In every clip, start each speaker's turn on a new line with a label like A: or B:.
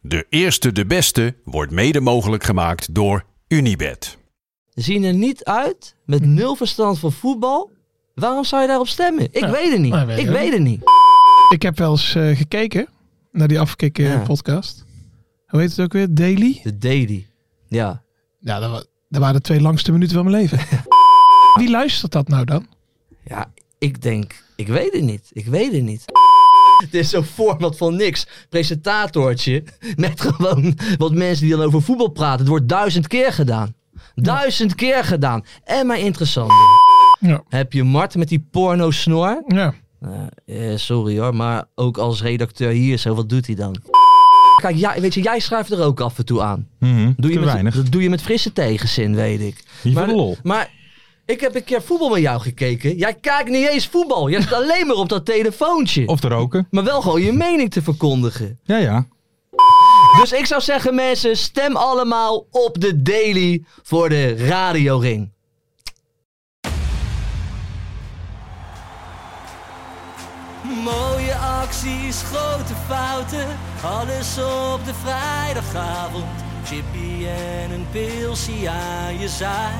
A: De eerste de beste wordt mede mogelijk gemaakt door Unibed.
B: zien er niet uit met
C: Mhm.
B: nul verstand van voetbal. Waarom zou je daarop stemmen? Ik
C: Ja,
B: weet het niet.
C: dat weet
B: ik
C: ik
B: weet
C: ook.
B: het niet.
C: Ik heb wel eens eh, gekeken naar die afgekikken
B: Ja.
C: podcast. Hoe heet het ook weer? Daily?
B: De Daily. Ja.
C: Ja, dat, wa- dat waren de twee langste minuten van mijn leven. Wie luistert dat nou dan?
B: Ja, ik denk, ik weet het niet. Ik weet het niet. Het is zo'n format van niks. Presentatortje met gewoon wat mensen die dan over voetbal praten. Het wordt duizend keer gedaan. Duizend keer gedaan. En maar interessant.
C: Ja.
B: Heb je Mart met die porno snor?
C: Ja.
B: Eh, sorry hoor, maar ook als redacteur hier zo, wat doet hij dan? Kijk, jij, weet je, jij schuift er ook af en toe aan. Doe je
D: Mhm, te
B: met,
D: weinig.
B: Dat doe je met frisse tegenzin, weet ik.
D: Hier voor de lol.
B: maar ik heb een keer voetbal met jou gekeken. Jij kijkt niet eens voetbal. Jij zit alleen maar op dat telefoontje.
D: Of te roken.
B: Maar wel gewoon je mening te verkondigen.
D: Ja, ja.
B: Dus ik zou zeggen, mensen, stem allemaal op de Daily voor de Radioring. Mooie acties, grote fouten, alles op de vrijdagavond. Chippy en een pilsie aan je zaai.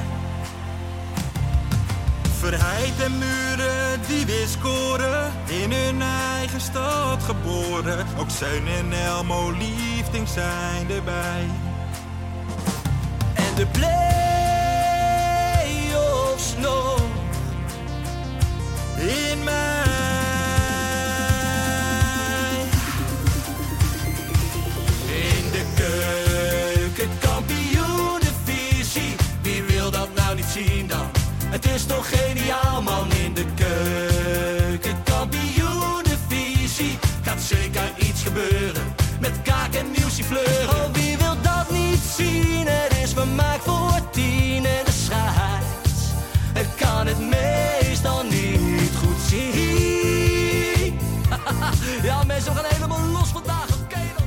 E: Verheid en muren die weer scoren, in hun eigen stad geboren. Ook Zeun en Elmo liefding zijn erbij.
B: En de play-offs nog.
E: In mij. In de keuken, kampioenenvisie. Wie wil dat nou niet zien dan? Het is toch geniaal man in de keuken, kampioenenvisie. Gaat zeker iets gebeuren met kaak en muziek fleuren.
B: Oh, wie wil dat niet zien? Het is vermaakt voor tien en de scheids. Ik kan het meestal niet goed zien. ja, mensen, we gaan helemaal los vandaag. Oké dan.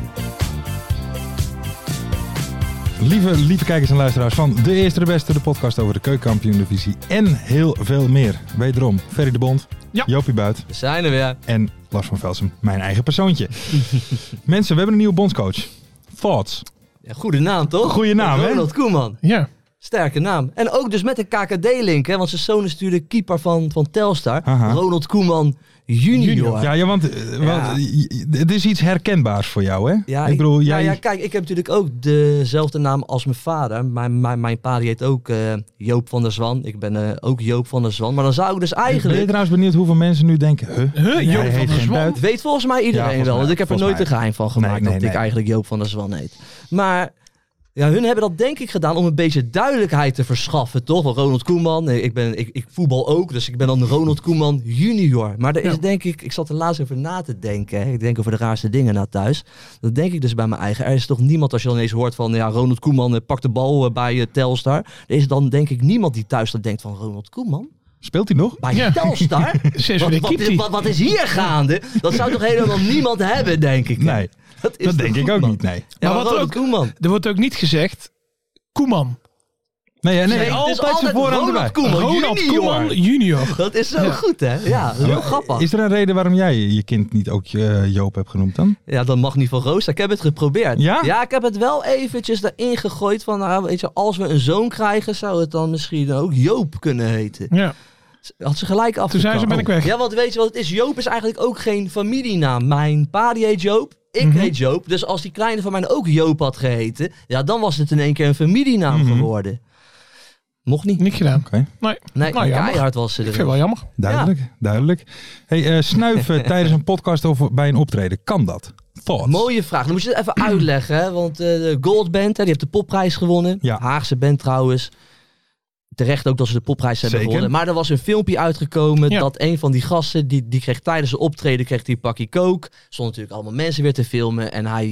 D: Lieve, lieve kijkers en luisteraars van De Eerste de Beste, de podcast over de keukenkampioen-divisie en heel veel meer. Wederom, Ferry de Bond,
C: Ja.
D: Jopie Buit
B: We zijn er weer.
D: en Lars van Velsen, mijn eigen persoontje. Mensen, we hebben een nieuwe bondscoach. Thoughts.
B: Ja, goede naam, toch?
D: Goeie naam, hè?
B: Ronald Koeman.
C: Ja.
B: Sterke naam. En ook dus met een KKD-link, hè? Want zijn zoon is natuurlijk keeper van, van Telstar.
D: Aha.
B: Ronald Koeman junior.
D: Ja, ja want eh,
B: Ja.
D: want, eh, het is iets herkenbaars voor jou, hè?
B: Ja,
D: ik bedoel, jij...
B: nou ja, kijk, ik heb natuurlijk ook dezelfde naam als mijn vader. Mijn, mijn, mijn pa die heet ook eh, Joop van der Zwan. Ik ben eh, ook Joop van der Zwan. Maar dan zou ik dus
D: Ben je
B: eigenlijk...
D: trouwens benieuwd hoeveel mensen nu denken, huh?
C: Huh,
D: Hij
C: Joop van
D: heet
C: der
D: geen
C: Zwan?
D: Buit.
B: Het weet volgens mij
D: Ja,
B: iedereen
D: volgens
B: wel.
D: mij,
B: Want ik heb er
D: volgens
B: nooit een
D: mij.
B: geheim van gemaakt
D: Nee, nee,
B: dat ik
D: nee.
B: eigenlijk Joop van der Zwan heet. Maar ja, hun hebben dat denk ik gedaan om een beetje duidelijkheid te verschaffen, toch? Want Ronald Koeman, eh, ik, ben, ik, ik voetbal ook, dus ik ben dan Ronald Koeman junior. Maar er is denk ik, ik zat er laatst over na te denken. hè. Ik denk over de raarste dingen na thuis. Dat denk ik dus bij mijn eigen. Er is toch niemand, als je dan eens hoort van, ja, Ronald Koeman eh, pakt de bal eh, bij eh, Telstar. Er is dan denk ik niemand die thuis dat denkt van, Ronald Koeman?
D: Speelt hij nog?
B: Bij
C: Ja.
B: Telstar?
C: Sinds
B: Wat,
C: wanneer
B: wat,
C: keept
B: is,
C: hij?
B: wat, wat is hier gaande? Dat zou toch helemaal niemand hebben, denk ik.
D: Nee,
B: dat, is
D: dat
B: toch
D: denk ik
B: goed,
D: ook
B: man?
D: niet, nee.
B: Ja,
C: Maar
B: maar
C: wat er
B: Ronald
C: ook-
B: Koeman.
C: Er wordt ook niet gezegd Koeman.
D: Nee, nee,
B: Nee, het is
D: altijd zijn
B: altijd
D: voornaam
B: Ronald
D: erbij.
B: Koeman.
C: Ronald
B: junior.
C: Koeman junior.
B: Dat is zo goed, hè? Ja, heel grappig.
D: Is er een reden waarom jij je kind niet ook eh, Joop hebt genoemd dan?
B: Ja, dat mag niet van Roos. Ik heb het geprobeerd.
D: Ja?
B: ik heb het wel eventjes daarin gegooid van, nou, weet je, als we een zoon krijgen, zou het dan misschien ook Joop kunnen heten.
C: Ja.
B: Had ze gelijk af.
C: Toen zei ze, ben ik weg.
B: Ja, want weet je wat het is? Joop is eigenlijk ook geen familienaam. Mijn pa die heet Joop, ik
C: Mhm.
B: heet Joop. Dus als die kleine van mij ook Joop had geheten, ja, dan was het in één keer een familienaam
C: Mhm.
B: geworden. Mocht niet.
C: Niet gedaan.
D: Oké.
C: Nee.
B: Nee,
C: nou, jammer.
B: keihard was ze
C: Ik
B: er.
C: vind het wel jammer.
D: Duidelijk, duidelijk. Hey, eh, snuiven tijdens een podcast of bij een optreden, kan dat? Thoughts.
B: Mooie vraag. Dan moet je het even uitleggen. Hè? Want eh, de Gold Band, hè, die heeft de popprijs gewonnen.
D: Ja.
B: Haagse band trouwens. terecht ook dat ze de popprijs hebben
D: Zeker.
B: gewonnen. Maar er was een filmpje uitgekomen
C: Ja.
B: dat een van die gasten, die, die kreeg tijdens zijn optreden, kreeg die een pakje coke. Stonden natuurlijk allemaal mensen weer te filmen en hij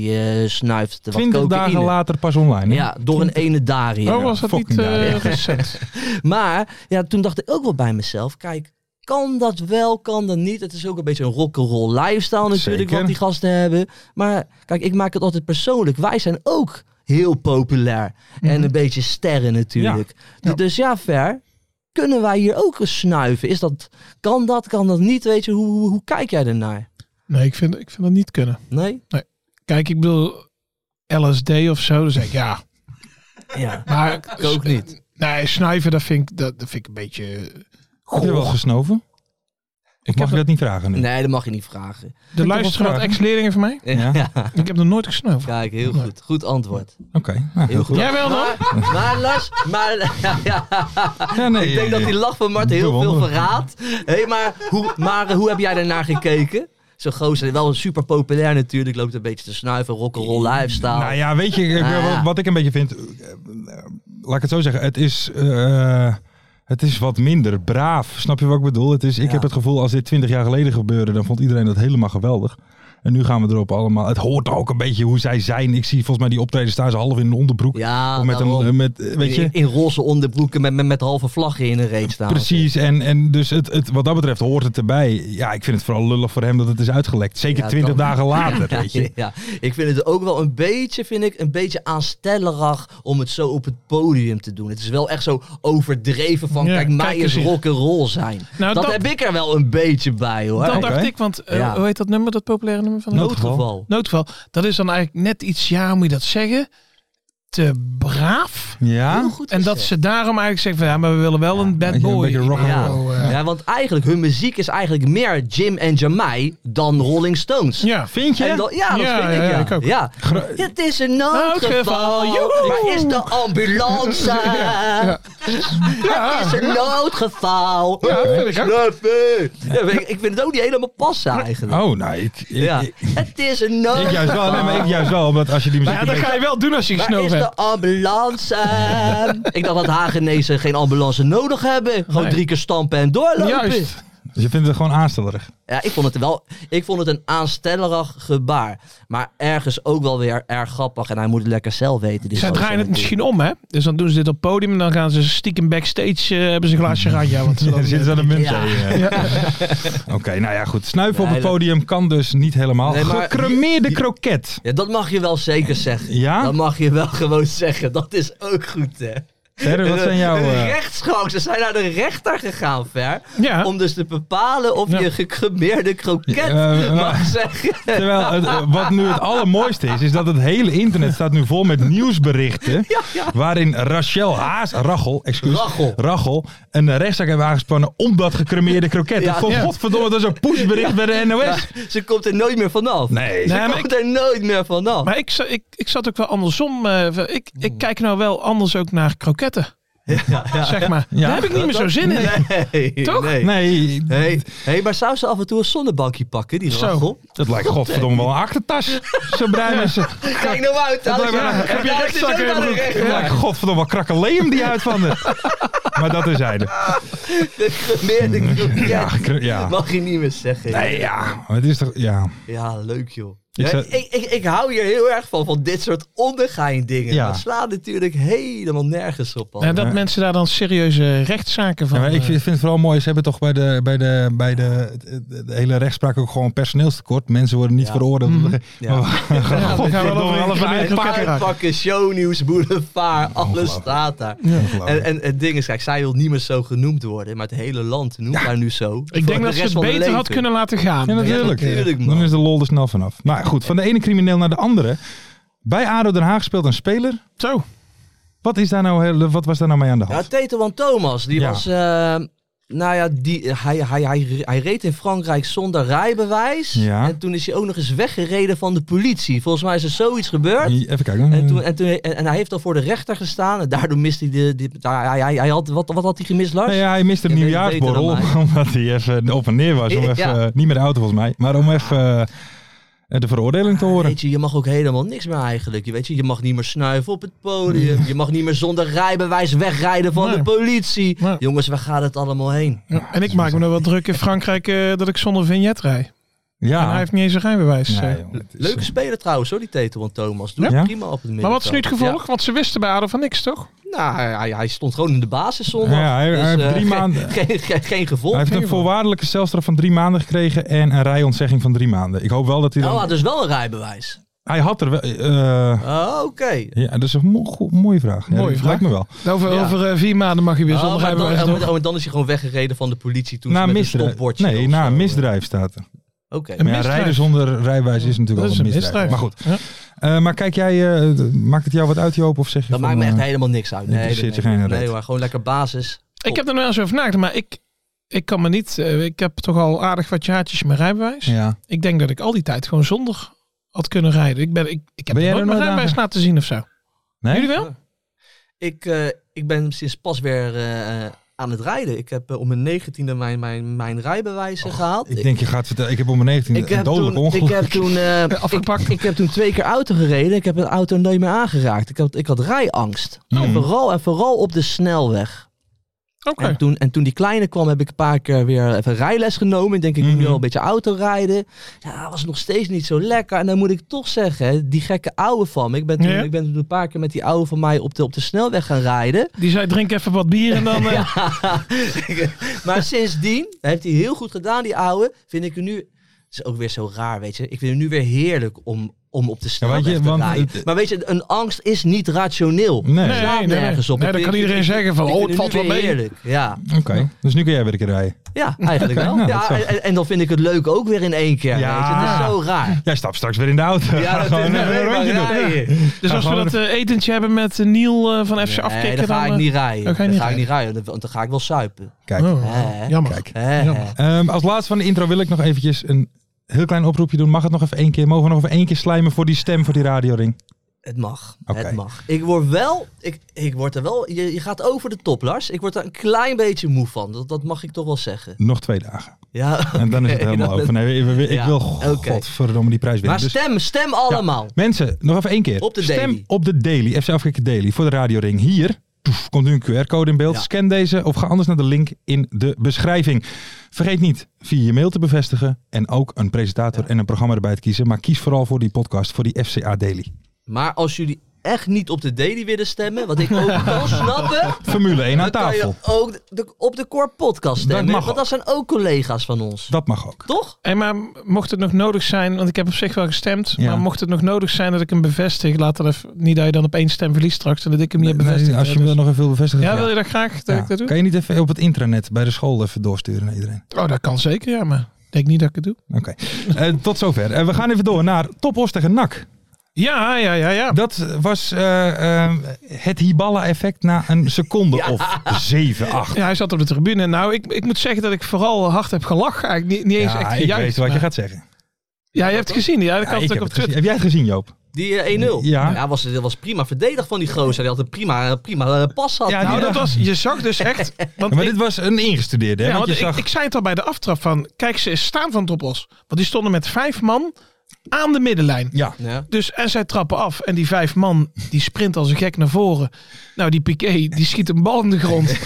B: eh, snuift wat
D: 20
B: cocaïne.
D: dagen later pas online. hè?
B: Ja, door een ene Daria.
C: Oh, was dat
D: fucking
C: niet eh,
D: ja.
C: recent?
B: Maar ja, toen dacht ik ook wel bij mezelf, kijk, kan dat wel, kan dat niet? Het is ook een beetje een rock'n'roll lifestyle natuurlijk
D: Zeker.
B: wat die gasten hebben. Maar kijk, ik maak het altijd persoonlijk. Wij zijn ook heel populair en een beetje sterren natuurlijk.
C: Ja.
B: Dus ja, ver. Kunnen wij hier ook eens snuiven? Is dat, kan dat, kan dat niet? Weet je, hoe, hoe, hoe kijk jij ernaar?
C: Nee, ik vind, ik vind dat niet kunnen.
B: Nee?
C: Kijk, ik bedoel, LSD of zo, dan zeg ik ja.
B: Ja,
C: Maar
B: ook niet.
C: Nee, snuiven, dat vind ik, dat, dat vind ik een beetje...
D: Heb je wel
C: Goh.
D: gesnoven? Ik mag je dat niet vragen nu?
B: Nee, dat mag je niet vragen.
C: De luisteraar had
D: vragen.
C: ex-leerlingen van mij.
D: Ja.
C: Ik heb nog nooit gesnuiven.
B: Kijk, heel
C: Nee.
B: goed. Goed antwoord.
D: Oké, nou, heel goed.
C: Jij wel dan?
B: Maar, maar Lars, maar, ja,
D: Ja, nee,
B: Ik denk dat die lach van Mart heel veel
D: Bewonder.
B: verraadt. Hé, maar, hoe, maar hoe heb jij daarnaar gekeken? Zo'n gozer, wel super populair natuurlijk, loopt een beetje te snuiven, rock'n'roll lifestyle.
D: Nou ja, weet je, ik-
B: Ah.
D: wat- wat ik een beetje vind... eh, eh, Laat ik het zo zeggen, het is... eh, het is wat minder braaf, snap je wat ik bedoel? Het is, ik
B: Ja.
D: heb het gevoel, als dit 20 jaar geleden gebeurde, dan vond iedereen dat helemaal geweldig. En nu gaan we erop allemaal. Het hoort ook een beetje hoe zij zijn. Ik zie volgens mij die optreden staan ze half in een onderbroek.
B: Ja,
D: of met
B: daarom.
D: een, eh, met, eh, weet je?
B: In, in roze onderbroeken met, met, met halve vlaggen in een reet staan.
D: Precies, en, en dus het, het, wat dat betreft hoort het erbij. Ja, ik vind het vooral lullig voor hem dat het is uitgelekt. Zeker
B: Ja,
D: twintig
B: kan.
D: dagen later, weet je.
B: Ja, ik vind het ook wel een beetje, vind ik, een beetje aanstellerig om het zo op het podium te doen. Het is wel echt zo overdreven van,
C: Ja,
B: kijk, mij
C: kijk
B: is
C: eens hier.
B: rock'n'roll zijn.
C: Nou,
B: dat,
C: dat-
B: heb ik er wel een beetje bij, hoor.
C: Dan
D: Oké.
C: dacht ik, want eh,
B: Ja.
C: hoe heet dat nummer, dat populaire nummer van de
D: Noodgeval.
B: Noodgeval.
C: Noodgeval. Dat is dan eigenlijk net iets, ja, hoe moet je dat zeggen? Te braaf.
D: Ja,
B: Goed
C: En dat
B: gezegd.
C: ze daarom eigenlijk zeggen van ja, maar we willen wel een bad
D: weet je, een
C: boy.
D: beetje rock and
B: Ja.
C: Oh, eh,
B: Ja, want eigenlijk, hun muziek is eigenlijk meer Jim en Jamai dan Rolling Stones.
C: ja.
D: vind je?
B: En dan, ja, dat
C: Ja,
B: vind ik,
C: ja,
B: ja.
C: ik ook.
B: Ja.
D: Gro-
B: Het is een
C: Noodgeval,
B: noodgeval,
C: joehoe.
B: maar is de ambulance? Het is een noodgeval.
C: Ja, dat vind ik ook.
B: Snuffy. Ja, maar ik, ik vind het ook niet helemaal passen eigenlijk.
D: Oh, nou, ik, ik,
B: ja.
D: ik,
B: Het is een
D: ik
B: noodgeval,
D: juist wel. Nee, maar ik juist wel, omdat als je die
C: Maar
D: muziek...
C: ja, dat
D: een
C: ga je wel doen als je
B: maar is
C: gesnoven
B: de
C: hebt.
B: ambulance? ik dacht dat Hagenezen geen ambulance nodig hebben. Gewoon
C: Nee.
B: drie keer stampen en doorlopen.
C: Juist.
D: beetje- Dus je vindt het gewoon aanstellerig.
B: Ja, ik vond het wel. Ik vond het een aanstellerig gebaar. Maar ergens ook wel weer erg grappig. En hij moet het lekker zelf weten. die
C: Zij
B: gozer
C: draaien het
B: natuurlijk.
C: misschien om, hè? Dus dan doen ze dit op het podium en dan gaan ze stiekem backstage, eh, hebben ze een glaasje ranja. Want ze
D: Er zit
C: dan,
D: wel een munt
B: Ja.
D: tegen. eh, Oké, nou ja, goed. Snuiven op
B: Nee,
D: het
B: dat-
D: podium kan dus niet helemaal.
B: Nee, maar-
D: Gecremeerde kroket.
B: Ja, dat mag je wel zeker zeggen.
D: Ja?
B: Dat mag je wel gewoon zeggen. Dat is ook goed, hè?
D: Verder, wat zijn jouw...
B: Een
D: eh,
B: rechtsgang. Ze zijn naar de rechter gegaan, Ver.
C: ja.
B: Om dus te bepalen of
C: Ja.
B: je gecremeerde kroket
D: Ja, eh,
B: mag
D: maar-
B: zeggen.
D: Terwijl het, eh, wat nu het allermooiste is, is dat het hele internet staat nu vol met nieuwsberichten.
B: Ja, ja.
D: Waarin Rachel Haas, Rachel, excuus,
B: Rachel.
D: Rachel, een rechtszaak hebben aangespannen om dat gecremeerde kroket.
B: Ja.
D: Ik vond,
C: Ja.
D: godverdomme, dat is een pushbericht bij de NOS.
B: Ze komt er nooit meer vanaf.
D: Nee.
C: Nee,
B: Ze
C: maar
B: komt er nooit meer vanaf.
C: Maar ik, za- ik, ik zat ook wel andersom. eh, van- ik, ik kijk nou wel anders ook naar kroketten. Zeg maar.
D: Ja.
C: Daar heb ik niet meer zo zin in.
B: Nee,
C: Toch?
B: Nee.
D: Nee,
B: Hey, hey, maar zou ze af en toe een zonnebankje pakken, die
C: Zo.
B: Rachel?
D: dat lijkt godverdomme wel een achtertas. Zo bruin is ze.
B: Kijk nou uit,
D: Dat
B: Alex.
D: lijkt wel een- heb je
B: Ja, het is
D: rechtszak
B: ook
D: in je
B: aan de
D: broek?
B: rechter.
D: Het lijkt godverdomme wel krakkeleem die uit van de. Maar dat is hij.
B: De gemeerde kroket.
D: Ja, kro- ja.
B: Mag je niet meer zeggen.
D: Nee, ja. Het is toch, ja.
B: Ja, leuk joh.
D: Ik
B: Ja, Ik,
D: zou-
B: ik, ik, hou hier heel erg van, van dit soort ondergaan dingen.
D: Ja.
B: Dat slaat natuurlijk helemaal nergens op. man.
C: En dat mensen daar dan serieuze rechtszaken van...
D: Ja, maar ik
C: eh,
D: vind vind het vooral mooi, ze hebben toch bij de, bij de, bij de, de hele rechtspraak ook gewoon personeelstekort. Mensen worden niet
B: Ja. Mhm.
D: veroordeeld.
B: Ja.
D: Maar we gaan
C: Ja, we gaan wel over een
D: allemaal
C: klein pakket
B: Pakken,
C: raken.
B: pakken, shownieuws, boulevard, alles staat daar. En, en het ding is, kijk, zij wil niet meer zo genoemd worden, maar het hele land noemt haar nu zo.
C: Ik denk dat ze het beter had kunnen laten gaan.
D: Ja, natuurlijk.
B: Ja, natuurlijk, man.
D: Dan is de lol er snel vanaf. Maar goed, van de ene crimineel naar de andere. Bij ADO Den Haag speelt een speler.
C: Zo.
D: Wat, is daar nou, heel- wat was daar nou mee aan de
B: Nou,
D: hand?
B: Teto van Thomas, die
D: Ja.
B: was... eh, nou ja, die, hij, hij, hij, hij reed in Frankrijk zonder rijbewijs.
D: Ja.
B: En toen is hij ook nog eens weggereden van de politie. Volgens mij is er zoiets gebeurd.
D: Even kijken.
B: En, toen, en, toen, en, en hij heeft al voor de rechter gestaan. En daardoor mist hij de. de hij, hij, hij- hij had, wat, wat had hij gemist, Lars?
D: Nou ja, hij miste een
B: Je weet
D: nieuwjaarsborrel
B: beter dan
D: omdat hij even eh, op en neer was. Om
B: Ja. Ah.
D: even, Niet meer de auto volgens mij, maar om even... en de veroordeling te horen.
B: Weet je, je mag ook helemaal niks meer eigenlijk. Je, weet je, je mag niet meer snuiven op het podium. Je mag niet meer zonder rijbewijs wegrijden van
C: Nee.
B: de politie.
C: Nee.
B: Jongens, waar gaat het allemaal heen?
C: Ja, en ik maak me nog wel druk in Frankrijk eh, dat ik zonder vignet rijd. En
D: Ja.
C: hij heeft niet eens een rijbewijs. eh.
D: Nee, jongen, het is,
B: Leuke
D: eh,
B: speler trouwens hoor, die Teto en Thomas. Doet
D: Ja?
B: het prima op het middenveld.
C: maar wat is nu het gevolg? Want ze wisten bij Adel van niks, toch?
B: Ja, nou, hij- hij, hij stond gewoon in de basis zondag.
D: Ja, hij- hij heeft
B: eh,
D: drie
B: geen-
D: maanden-
B: Geen, geen, geen gevolg.
D: Hij heeft een voorwaardelijke celstraf van drie maanden gekregen en een rijonntzegging van drie maanden. Ik hoop wel dat hij dan...
B: Oh, dus wel een rijbewijs.
D: Hij had er wel... eh,
B: Oh, oké.
D: ja, dat is een mo- go- mooie vraag. Ja,
C: Mooie
D: dat
C: vraag.
D: Lijkt me wel.
C: Over,
B: Ja.
C: over eh, vier maanden mag je weer
B: Oh,
C: zonder
B: maar dan,
C: rijbewijs.
B: oh, maar
C: door.
B: dan- oh, dan is hij gewoon weggereden van de politie toen
D: Na
B: ze met een
D: misdrijf.
B: stopbordje
D: Nee,
B: of
D: na
B: zo.
D: misdrijf staat er.
B: eh, Oké.
C: Een
D: Maar ja,
C: misdrijf.
D: rijden zonder rijbewijs is natuurlijk
C: Dat
D: wel
C: is
D: een
C: een
D: misdrijf.
C: misdrijf.
D: Maar goed.
C: Ja.
D: Eh, maar kijk jij, eh, d- maakt het jou wat uit, Joop? Of zeg je
B: Dat
D: van,
B: maakt me echt
D: eh,
B: helemaal niks uit.
D: dat
B: Nee,
D: interesseert
B: dat-
D: je geen
B: nee,
D: reet.
B: maar gewoon lekker basis.
C: Ik heb er nou eens over nagedacht, maar ik, ik kan me niet... eh, ik heb toch al aardig wat jaartjes mijn rijbewijs.
D: Ja.
C: Ik denk dat ik al die tijd gewoon zonder had kunnen rijden. Ik, ben, ik, ik heb
D: Ben jij
C: nog
D: er
C: nooit mijn
D: nooit
C: rijbewijs
D: aan-
C: laten zien of zo.
D: Nee?
C: Jullie wel?
B: Ik, eh, ik ben sinds pas weer eh, aan het rijden. Ik heb eh, om mijn negentiende mijn, mijn, mijn rijbewijs eh, gehaald.
D: Ik denk, je gaat vertellen. Ik heb op mijn 19
B: Ik
D: een
B: heb,
D: dodelijk
B: toen, ik,
D: ongeluk.
B: heb toen, eh, ik, ik heb toen twee keer auto gereden. Ik heb een auto nooit meer aangeraakt. Ik had, ik had rijangst.
D: Mm.
B: En, vooral, en vooral op de snelweg.
C: Oké.
B: En, toen, en toen die kleine kwam, heb ik een paar keer weer even rijles genomen. Ik denk, ik moet nu
D: Mhm.
B: al een beetje auto rijden. Ja, dat was nog steeds niet zo lekker. En dan moet ik toch zeggen, hè, die gekke ouwe van me. Ik ben toen,
C: Ja.
B: ik ben toen een paar keer met die ouwe van mij op de, op de snelweg gaan rijden.
C: Die zei drink even wat bier en dan... eh,
B: maar sindsdien heeft hij heel goed gedaan, die ouwe. Vind ik hem nu... is ook weer zo raar, weet je. Ik vind het nu weer heerlijk om, om op de snelweg
D: je,
B: te
D: want
B: rijden.
D: het-
B: maar weet je, een angst is niet rationeel.
D: Nee.
C: Nee,
B: slaat
C: nee, nee.
B: nergens op.
C: Nee,
B: Ik
C: dan
B: vind- ik-
C: kan iedereen
B: ik-
C: zeggen van,
B: ik
C: oh,
B: vind
C: het valt
B: nu
C: wel
B: weer
C: mee.
B: Heerlijk, ja.
D: Oké, dus nu kun jij weer een keer rijden.
B: Ja, eigenlijk wel.
D: nou,
B: ja,
D: dat is wel-
B: en, en dan vind ik het leuk ook weer in één keer.
D: Ja.
B: Weet je? Het is zo raar.
D: Jij stapt straks weer in de auto.
B: Ja, dat
D: Gewoon
B: is
D: even een rondje doen.
C: Dus als we
D: gewoon
C: dat eh, etentje hebben met eh, Niel eh, van FC
B: Nee, dan
C: Afkikken...
B: ga ik
C: eh,
B: niet rijden.
C: dan
B: Dan
C: ga je niet
B: ga ik niet rijden, want dan- dan ga ik wel suipen.
D: Kijk,
C: oh,
B: Hè?
C: jammer.
D: kijk.
B: Hè?
C: Jammer.
D: Ehm, als laatste van de intro wil ik nog eventjes een heel klein oproepje doen. Mag het nog even één keer? Mogen we nog even één keer slijmen voor die stem, voor die radioring?
B: Het mag.
D: Oké.
B: Het mag. Ik word wel. Ik, ik word er wel. Je, je gaat over de top, Lars. Ik word er een klein beetje moe van. Dat, dat mag ik toch wel zeggen.
D: Nog twee dagen.
B: Ja.
D: En dan is het
B: Oké,
D: helemaal
B: dat-
D: over. Nee, we- we- ik
B: Ja,
D: wil,
B: oké.
D: godverdomme, die prijs winnen.
B: Maar
D: Dus-
B: stem, stem allemaal.
D: Mensen, nog even één keer.
B: Op de
D: Stem
B: daily.
D: op de daily. FC Afrika Daily voor de radioring. Hier poef, komt nu een QR-code in beeld.
B: Ja.
D: Scan deze of ga anders naar de link in de beschrijving. Vergeet niet via je mail te bevestigen en ook een presentator en een programma erbij te kiezen. Maar kies vooral voor die podcast, voor die FCA Daily.
B: Maar als jullie echt niet op de daily willen stemmen, wat ik ook kan snappen,
D: Formule 1 aan
B: dan kan je
D: tafel.
B: ook de- de- op de Core Podcast stemmen.
D: Dat mag
B: want dat zijn ook collega's van ons.
D: Dat mag ook.
B: Toch?
C: En maar mocht het nog nodig zijn, want ik heb op zich wel gestemd,
D: Ja.
C: maar mocht het nog nodig zijn dat ik hem bevestig, laat dat even, niet dat je dan op één stem verliest straks en dat ik hem niet heb
D: Nee,
C: bevestigd.
D: als je
C: hè,
D: hem
C: dus-
D: nog even wil bevestigen.
C: ja,
D: ja.
C: wil je dat graag dat eh,
D: Ja.
C: ik dat doe?
D: Kan je niet even op het intranet bij de school even doorsturen naar iedereen?
C: Oh, dat kan zeker, ja, maar ik denk niet dat ik het doe.
D: Oké, Eh, tot zover. Eh, we gaan even door naar Top Os tegen NAC.
C: Ja, ja, ja, ja.
D: Dat was eh, eh, het Hiballa-effect na een seconde of 7, 8.
C: Ja, hij zat op de tribune. Nou, ik, ik moet zeggen dat ik vooral hard heb gelachen. Eigenlijk niet, niet eens echt
D: ik
C: gejuicht.
D: weet wat je
C: maar-
D: gaat zeggen.
C: Ja, je hebt het gezien. Ja, dat
D: Ja,
C: kan
D: ik
C: natuurlijk
D: heb,
C: op
D: het
C: Twitter.
D: gezien. heb jij het gezien, Joop?
B: Die eh, 1-0.
D: Ja.
B: was, dat was prima verdedigd van die gozer. Die had een prima, prima eh, pas gehad.
D: Ja,
C: Nou,
D: die-
C: dat was, je zag dus echt... Want
D: maar
C: ik-
D: dit was een ingestudeerde, hè?
C: Ja,
D: want
C: want
D: je
C: ik,
D: zag...
C: ik zei het al bij de aftrap van, kijk ze eens staan van Droppels. Want die stonden met vijf man aan de middenlijn.
D: ja,
B: Ja.
C: Dus en zij trappen af en die vijf man die sprint als een gek naar voren. Nou die Piqué die schiet een bal in de grond.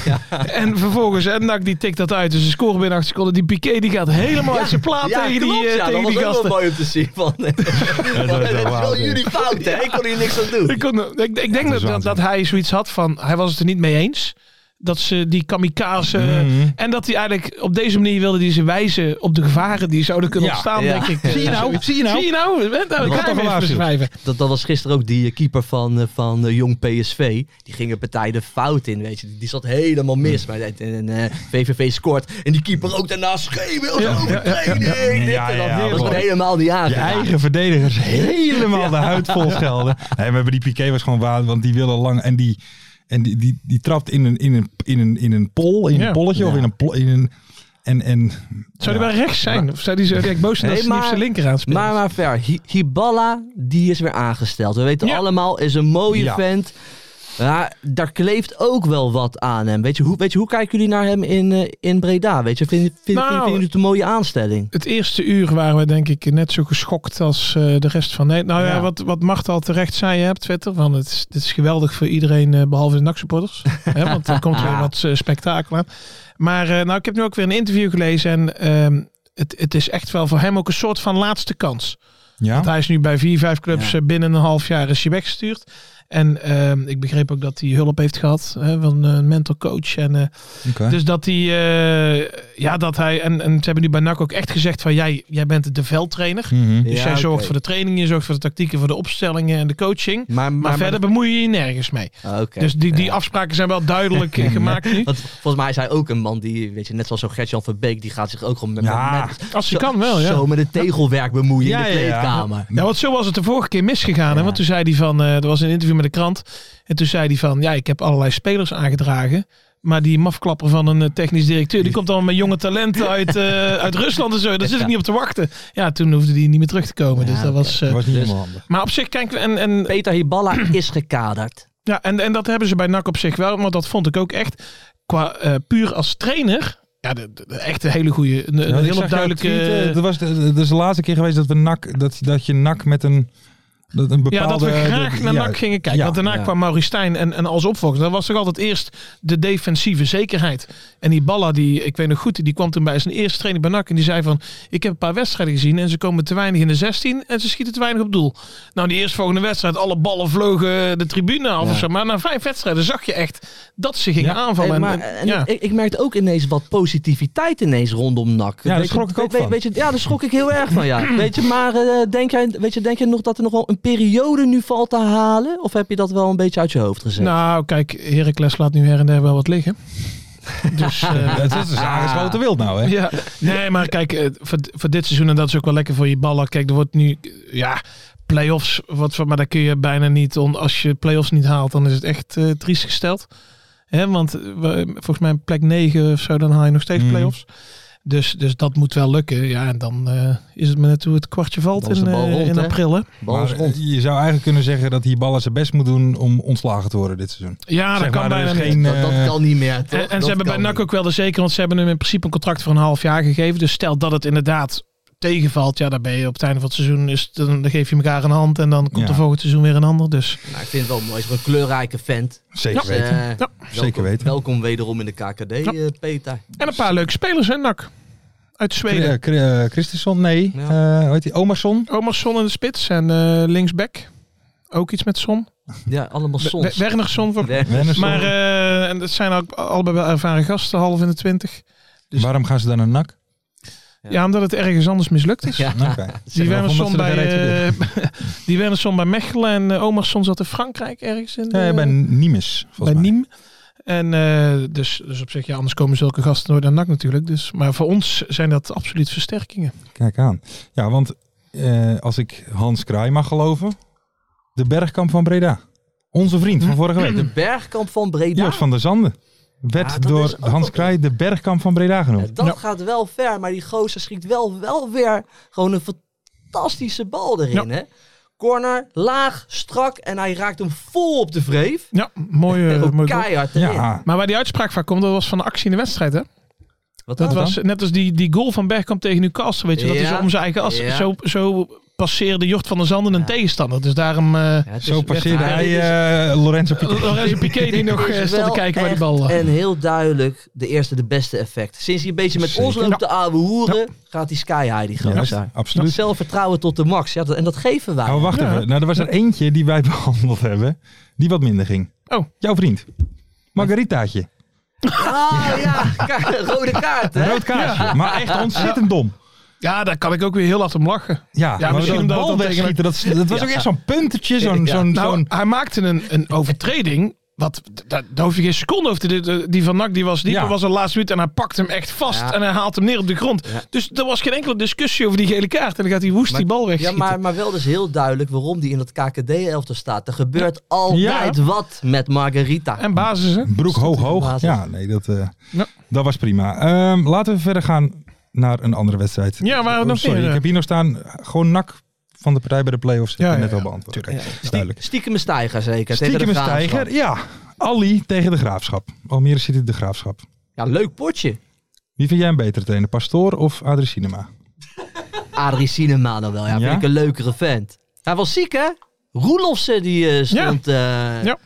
C: En vervolgens en Nak die tikt dat uit. Dus ze scoren binnen acht seconden. Die Piqué die gaat helemaal uit zijn plaat tegen die,
B: klopt,
C: eh,
B: ja,
C: tegen
B: dat
C: die
B: was ook wel
C: gasten.
B: mooi om te zien. Van, dat
D: wel
B: is wel
D: waanzin.
B: jullie fout, hè? Ik kon hier niks aan
C: Ik,
B: doen.
C: kon- ik, ik denk
D: dat is
C: dat, dat,
D: waanzin.
C: dat hij zoiets had van, hij was het er niet mee eens. Dat ze die kamikaze...
D: Mhm.
C: En dat hij eigenlijk op deze manier wilde die ze wijzen op de gevaren die zouden kunnen
D: Ja,
C: ontstaan,
B: ja.
C: denk ik.
D: Zie je nou?
C: Zoiets.
D: Zie je nou?
C: Zie je nou? Dat kan
D: toch
C: ik even
D: gewaarschuwd.
C: beschrijven.
B: Dat, dat was gisteren ook die eh, keeper van, eh, van eh, Jong PSV. Die ging een partij de fout in, weet je. Die, die zat helemaal mis. Maar en, en, eh, VVV scoort. En die keeper ook daarna schreeuwen. Ja, overtreding. dit
D: Ja,
B: en dat.
D: ja,
B: dat was
D: mooi.
B: gewoon helemaal niet
D: je
B: aangedaan.
D: eigen verdedigers helemaal de huid vol schelden. Nee, maar die Piqué was gewoon waard, want die wilde lang... En die, en die, die, die trapt in een, in een, in een, in een pol, in
C: Ja.
D: een polletje of in een... plo- In een en, en,
C: Zou die
D: ja.
C: wel rechts zijn? Of zou die zo direct boos zijn
B: Nee,
C: dat ze niet op
B: maar-
C: zijn linker aanspelen?
B: Maar maar ver. Hi- Hiballa, die is weer aangesteld. We weten
C: Ja.
B: allemaal, is een mooie
D: Ja.
B: vent. Maar daar kleeft ook wel wat aan hem. Weet je, hoe, weet je, hoe kijken jullie naar hem in, eh, in Breda? Weet je, vind, vind, vind,
C: Nou,
B: vinden jullie het een mooie aanstelling?
C: Het eerste uur waren we denk ik net zo geschokt als eh, de rest van Nederland. Nou ja,
B: Ja.
C: wat, wat Mart al terecht zei hè, op Twitter. Van het, is, dit is geweldig voor iedereen, eh, behalve de NAC-supporters. hè, want er komt weer wat eh, spektakel aan. Maar eh, nou, ik heb nu ook weer een interview gelezen. En ehm, het, het is echt wel voor hem ook een soort van laatste kans. Want
D: Ja,
C: hij is nu bij vier, vijf clubs.
B: Ja.
C: eh, Binnen een half jaar is hij weggestuurd. En ehm, ik begreep ook dat hij hulp heeft gehad hè, van een mental coach. En eh,
D: oké.
C: dus dat hij, eh, ja, dat hij, en, en ze hebben nu bij NAC ook echt gezegd van jij, jij bent de veldtrainer.
D: Mhm.
C: Dus
B: Ja,
C: jij
B: oké.
C: zorgt voor de trainingen, je zorgt voor de tactieken, voor de opstellingen en de coaching. Maar,
B: Maar, maar,
C: verder bemoei je je nergens mee.
B: Ah, oké.
C: Dus die, die
B: Ja.
C: afspraken zijn wel duidelijk eh, gemaakt nu.
B: Want volgens mij is hij ook een man die, weet je, net zoals zo'n Gertjan Verbeek, die gaat zich ook gewoon met,
D: Ja,
B: met- met-
C: Als je
B: zo-
C: kan wel, ja.
B: zo met het tegelwerk bemoeien in
D: Ja,
B: de
D: ja, ja.
B: kleedkamer.
C: Ja, want zo was het de vorige keer misgegaan. Hè?
B: Ja.
C: Want toen zei hij van, eh, er was een interview met de krant. En toen zei hij van, ja, ik heb allerlei spelers aangedragen. Maar die mafklapper van een eh, technisch directeur, die komt allemaal met jonge talenten uit, eh, uit Rusland en zo. Daar zit ik niet op te wachten. Ja, toen hoefde die niet meer terug te komen.
B: Ja,
C: dus dat
B: oké.
C: was... eh,
D: Dat was niet
B: Dus-
D: helemaal handig.
C: maar op zich, kijk, en, en
B: Peter Hiballa is gekaderd.
C: Ja, en, en dat hebben ze bij NAC op zich wel. Want dat vond ik ook echt, qua eh, puur als trainer... Ja, de, de- de- echt een hele goede, een, een
D: Ja, ik
C: heel
D: zag jou
C: duidelijke... eh,
D: tweeten. Dat eh, was de, dat is de laatste keer geweest dat we nak dat, dat je nak met een dat een
C: ja, dat
D: bepaalde
C: we graag naar
D: ja,
C: NAC gingen kijken.
D: ja,
C: want daarna
D: ja.
C: kwam Maurice Stijn en, en als opvolger. Dat was toch altijd eerst de defensieve zekerheid. En die Balla, die, ik weet nog goed, die kwam toen bij zijn eerste training bij NAC. En die zei van, ik heb een paar wedstrijden gezien. En ze komen te weinig in de 16 en ze schieten te weinig op doel. Nou, die eerstvolgende wedstrijd, alle ballen vlogen de tribune af
B: Ja.
C: of zo. Maar na vijf wedstrijden zag je echt dat ze gingen
D: Ja. Eh,
C: aanvallen.
B: Hey,
C: En-
B: maar,
C: en-
B: en
C: ja.
B: eh, ik, ik merkte ook ineens wat positiviteit ineens rondom NAC.
D: daar
B: Weet je-
D: schrok ik ook
B: weet,
D: van.
B: Weet je, ja, daar schrok ik heel erg van, ja. Weet je, maar eh, denk, jij, weet je, denk je nog dat er nog wel een periode nu valt te halen? Of heb je dat wel een beetje uit je hoofd gezet?
C: Nou, kijk, Heracles laat nu her en der wel wat liggen. Dus eh,
D: Het is een aangesloten wild nou, hè?
C: ja. Nee, maar kijk, eh, voor, voor dit seizoen, en dat is ook wel lekker voor je ballen. Kijk, er wordt nu, eh, ja, play-offs, wat, voor- maar daar kun je bijna niet, on, als je play-offs niet haalt, dan is het echt eh, triest gesteld. Hè, want eh, we- volgens mij plek 9 of zo, dan haal je nog steeds
D: Mhm.
C: play-offs. Dus, dus dat moet wel lukken. Ja, en dan eh, is het maar net hoe het kwartje valt
B: Dan is
C: in,
B: de bal
C: eh,
B: rond,
C: in
B: hè?
C: april. Hè?
B: Bal is
D: Maar eh,
B: rond.
D: je zou eigenlijk kunnen zeggen dat die ballen zijn best moet doen om ontslagen te worden dit seizoen.
C: Ja, Ah, dat
D: Zeg
C: kan
D: maar, er
C: bijna
D: is
C: niet.
D: geen,
B: dat, dat
D: eh,
B: kan niet meer, toch?
C: En, en
B: Dat
C: ze hebben bij
B: kan
C: NAC ook wel de zeker, want ze hebben hem in principe een contract voor een half jaar gegeven. Dus stel dat het inderdaad tegenvalt, ja, dan ben je op het einde van het seizoen, is, het- dan, dan geef je elkaar een hand en dan komt
D: Ja.
C: er volgend seizoen weer een ander. Dus
B: niet. Nou, ik vind het wel mooi. Hij is een kleurrijke vent.
D: Zeker
B: Dus, eh,
D: weten.
B: welkom-
D: Zeker weten.
B: Welkom wederom in de KKD, eh, Peter.
C: En een paar leuke spelers, hè, NAC. Uit Zweden.
D: Cri- eh, Christensen, nee.
B: Ja.
D: Eh, hoe heet die? Omerson?
C: Omarsson in de spits en eh, linksback. Ook iets met Son.
B: Ja, allemaal
C: We-
B: soms.
C: Wernersson. Voor...
B: Nee.
D: Wernersson.
C: Maar eh, en dat zijn ook allebei wel ervaren gasten, half in de twintig. dus-
D: Waarom gaan ze dan naar nak?
C: Ja, omdat het ergens anders mislukt is.
B: Ja.
D: Oké.
C: Die
D: Zeg maar, omdat
C: Wernersson
D: ze er
C: bij,
D: geen reet in
C: eh, die Wernersson bij Mechelen en eh, Omarsson zat in Frankrijk ergens. In de-
D: Nee, bij Niemes,
C: bij
D: volgens mij.
C: Niem. En eh, dus, dus op zich, ja, anders komen zulke gasten nooit aan NAC natuurlijk. Dus, maar voor ons zijn dat absoluut versterkingen.
D: Kijk aan. Ja, want eh, als ik Hans Kraai mag geloven, de Bergkamp van Breda. Onze vriend
B: Hm.
D: van vorige week.
B: De bergkamp van Breda.
D: Joost van der Zanden. Werd
B: Ja, dat
D: door
B: is ook
D: Hans
B: wel-
D: Kraai de Bergkamp van Breda
B: Ja,
D: genoemd.
B: Eh, dat gaat wel ver, maar die gozer schiet wel, wel weer gewoon een fantastische bal erin, hè? Corner, laag, strak en hij raakt hem vol op de vreef.
C: Ja, mooie.
B: En
C: mooi
B: ook
C: goal.
B: keihard erin.
D: Ja,
C: maar waar die uitspraak van komt, dat was van de actie in de wedstrijd. Hè?
B: Wat
C: Dat
D: Oh,
B: dan?
C: was net als die, die goal van Bergkamp tegen Newcastle. Weet je, dat
B: Ja.
C: is om zijn eigen as.
B: Ja.
C: Zo, zo passeerde Jort van der Zanden een
B: Ja.
C: tegenstander. Dus daarom. eh
B: Ja, het is
D: zo
B: echt-
D: passeerde
B: ja, dit
D: hij
B: is-
D: eh, Lorenzo Piquet.
C: Lorenzo Piquet die nog
B: dit
C: eh,
B: is
C: stond te
B: wel
C: kijken waar die
B: echt
C: bal lag.
B: En heel duidelijk de eerste de beste effect. Sinds hij een beetje met ons
D: Zeker.
B: loopt te ouwe hoeren, gaat die sky high die
D: Ja,
B: gozer.
D: absoluut.
B: Zelfvertrouwen tot de max. Ja, dat- en dat geven wij.
D: Nou, wacht
C: Ja.
D: even. Nou, er was er eentje die wij behandeld hebben, die wat minder ging.
C: Oh.
D: Jouw vriend. Margaritaatje.
B: Ah ja, ka- rode kaart hè?
D: Rood kaarsje. Maar echt ontzettend dom.
C: Ja, daar kan ik ook weer heel hard om lachen.
D: Ja, maar
C: misschien omdat het
D: dat bal
C: dan tegen-
D: wegschieten, dat, dat was ook echt zo'n puntetje, zo'n...
B: Ja.
D: zo'n
C: Nou,
D: zo'n-
C: hij maakte een, een overtreding. Wat, daar, daar hoef je geen seconde over te dit- eh, Die van Nak die was dieper,
D: Ja.
C: was een laatste minuut. En hij pakt hem echt vast
B: Ja.
C: en hij haalt hem neer op de grond.
B: Ja.
C: Dus er was geen enkele discussie over die gele kaart. En dan gaat hij woest die bal
B: Ja,
C: wegschieten.
B: maar, maar wel dus heel duidelijk waarom die in dat KKD-elftal staat. Er gebeurt altijd wat met Margarita.
C: En basis, hè?
D: Broek hoog hoog.
B: basis.
D: Ja, nee, dat, eh,
C: Ja.
D: dat was prima. Ehm, laten we verder gaan naar een andere wedstrijd. Oh,
C: Ja, waren er nog
D: Sorry,
C: meer,
D: ik
C: eh?
D: heb hier nog staan, gewoon nak van de partij bij de play-offs.
C: Ja,
D: Ja,
C: ja,
D: net al
C: ja,
D: beantwoord. Oké,
C: tuurlijk.
D: is duidelijk.
B: Stiekem een stijger zeker. tegen
D: Stiekem
B: de
D: een
B: Graafschap.
D: stijger. Ja, Ali tegen de Graafschap. Almere City de Graafschap.
B: Ja, leuk potje.
D: Wie vind jij een betere trainer, Pastoor of Adrie Cinema?
B: Adrie Sinema dan wel. Ja,
D: Ja?
B: vind ik een leukere vent. Hij was ziek, hè? Roelofsen die eh, stond... eh,
C: Ja.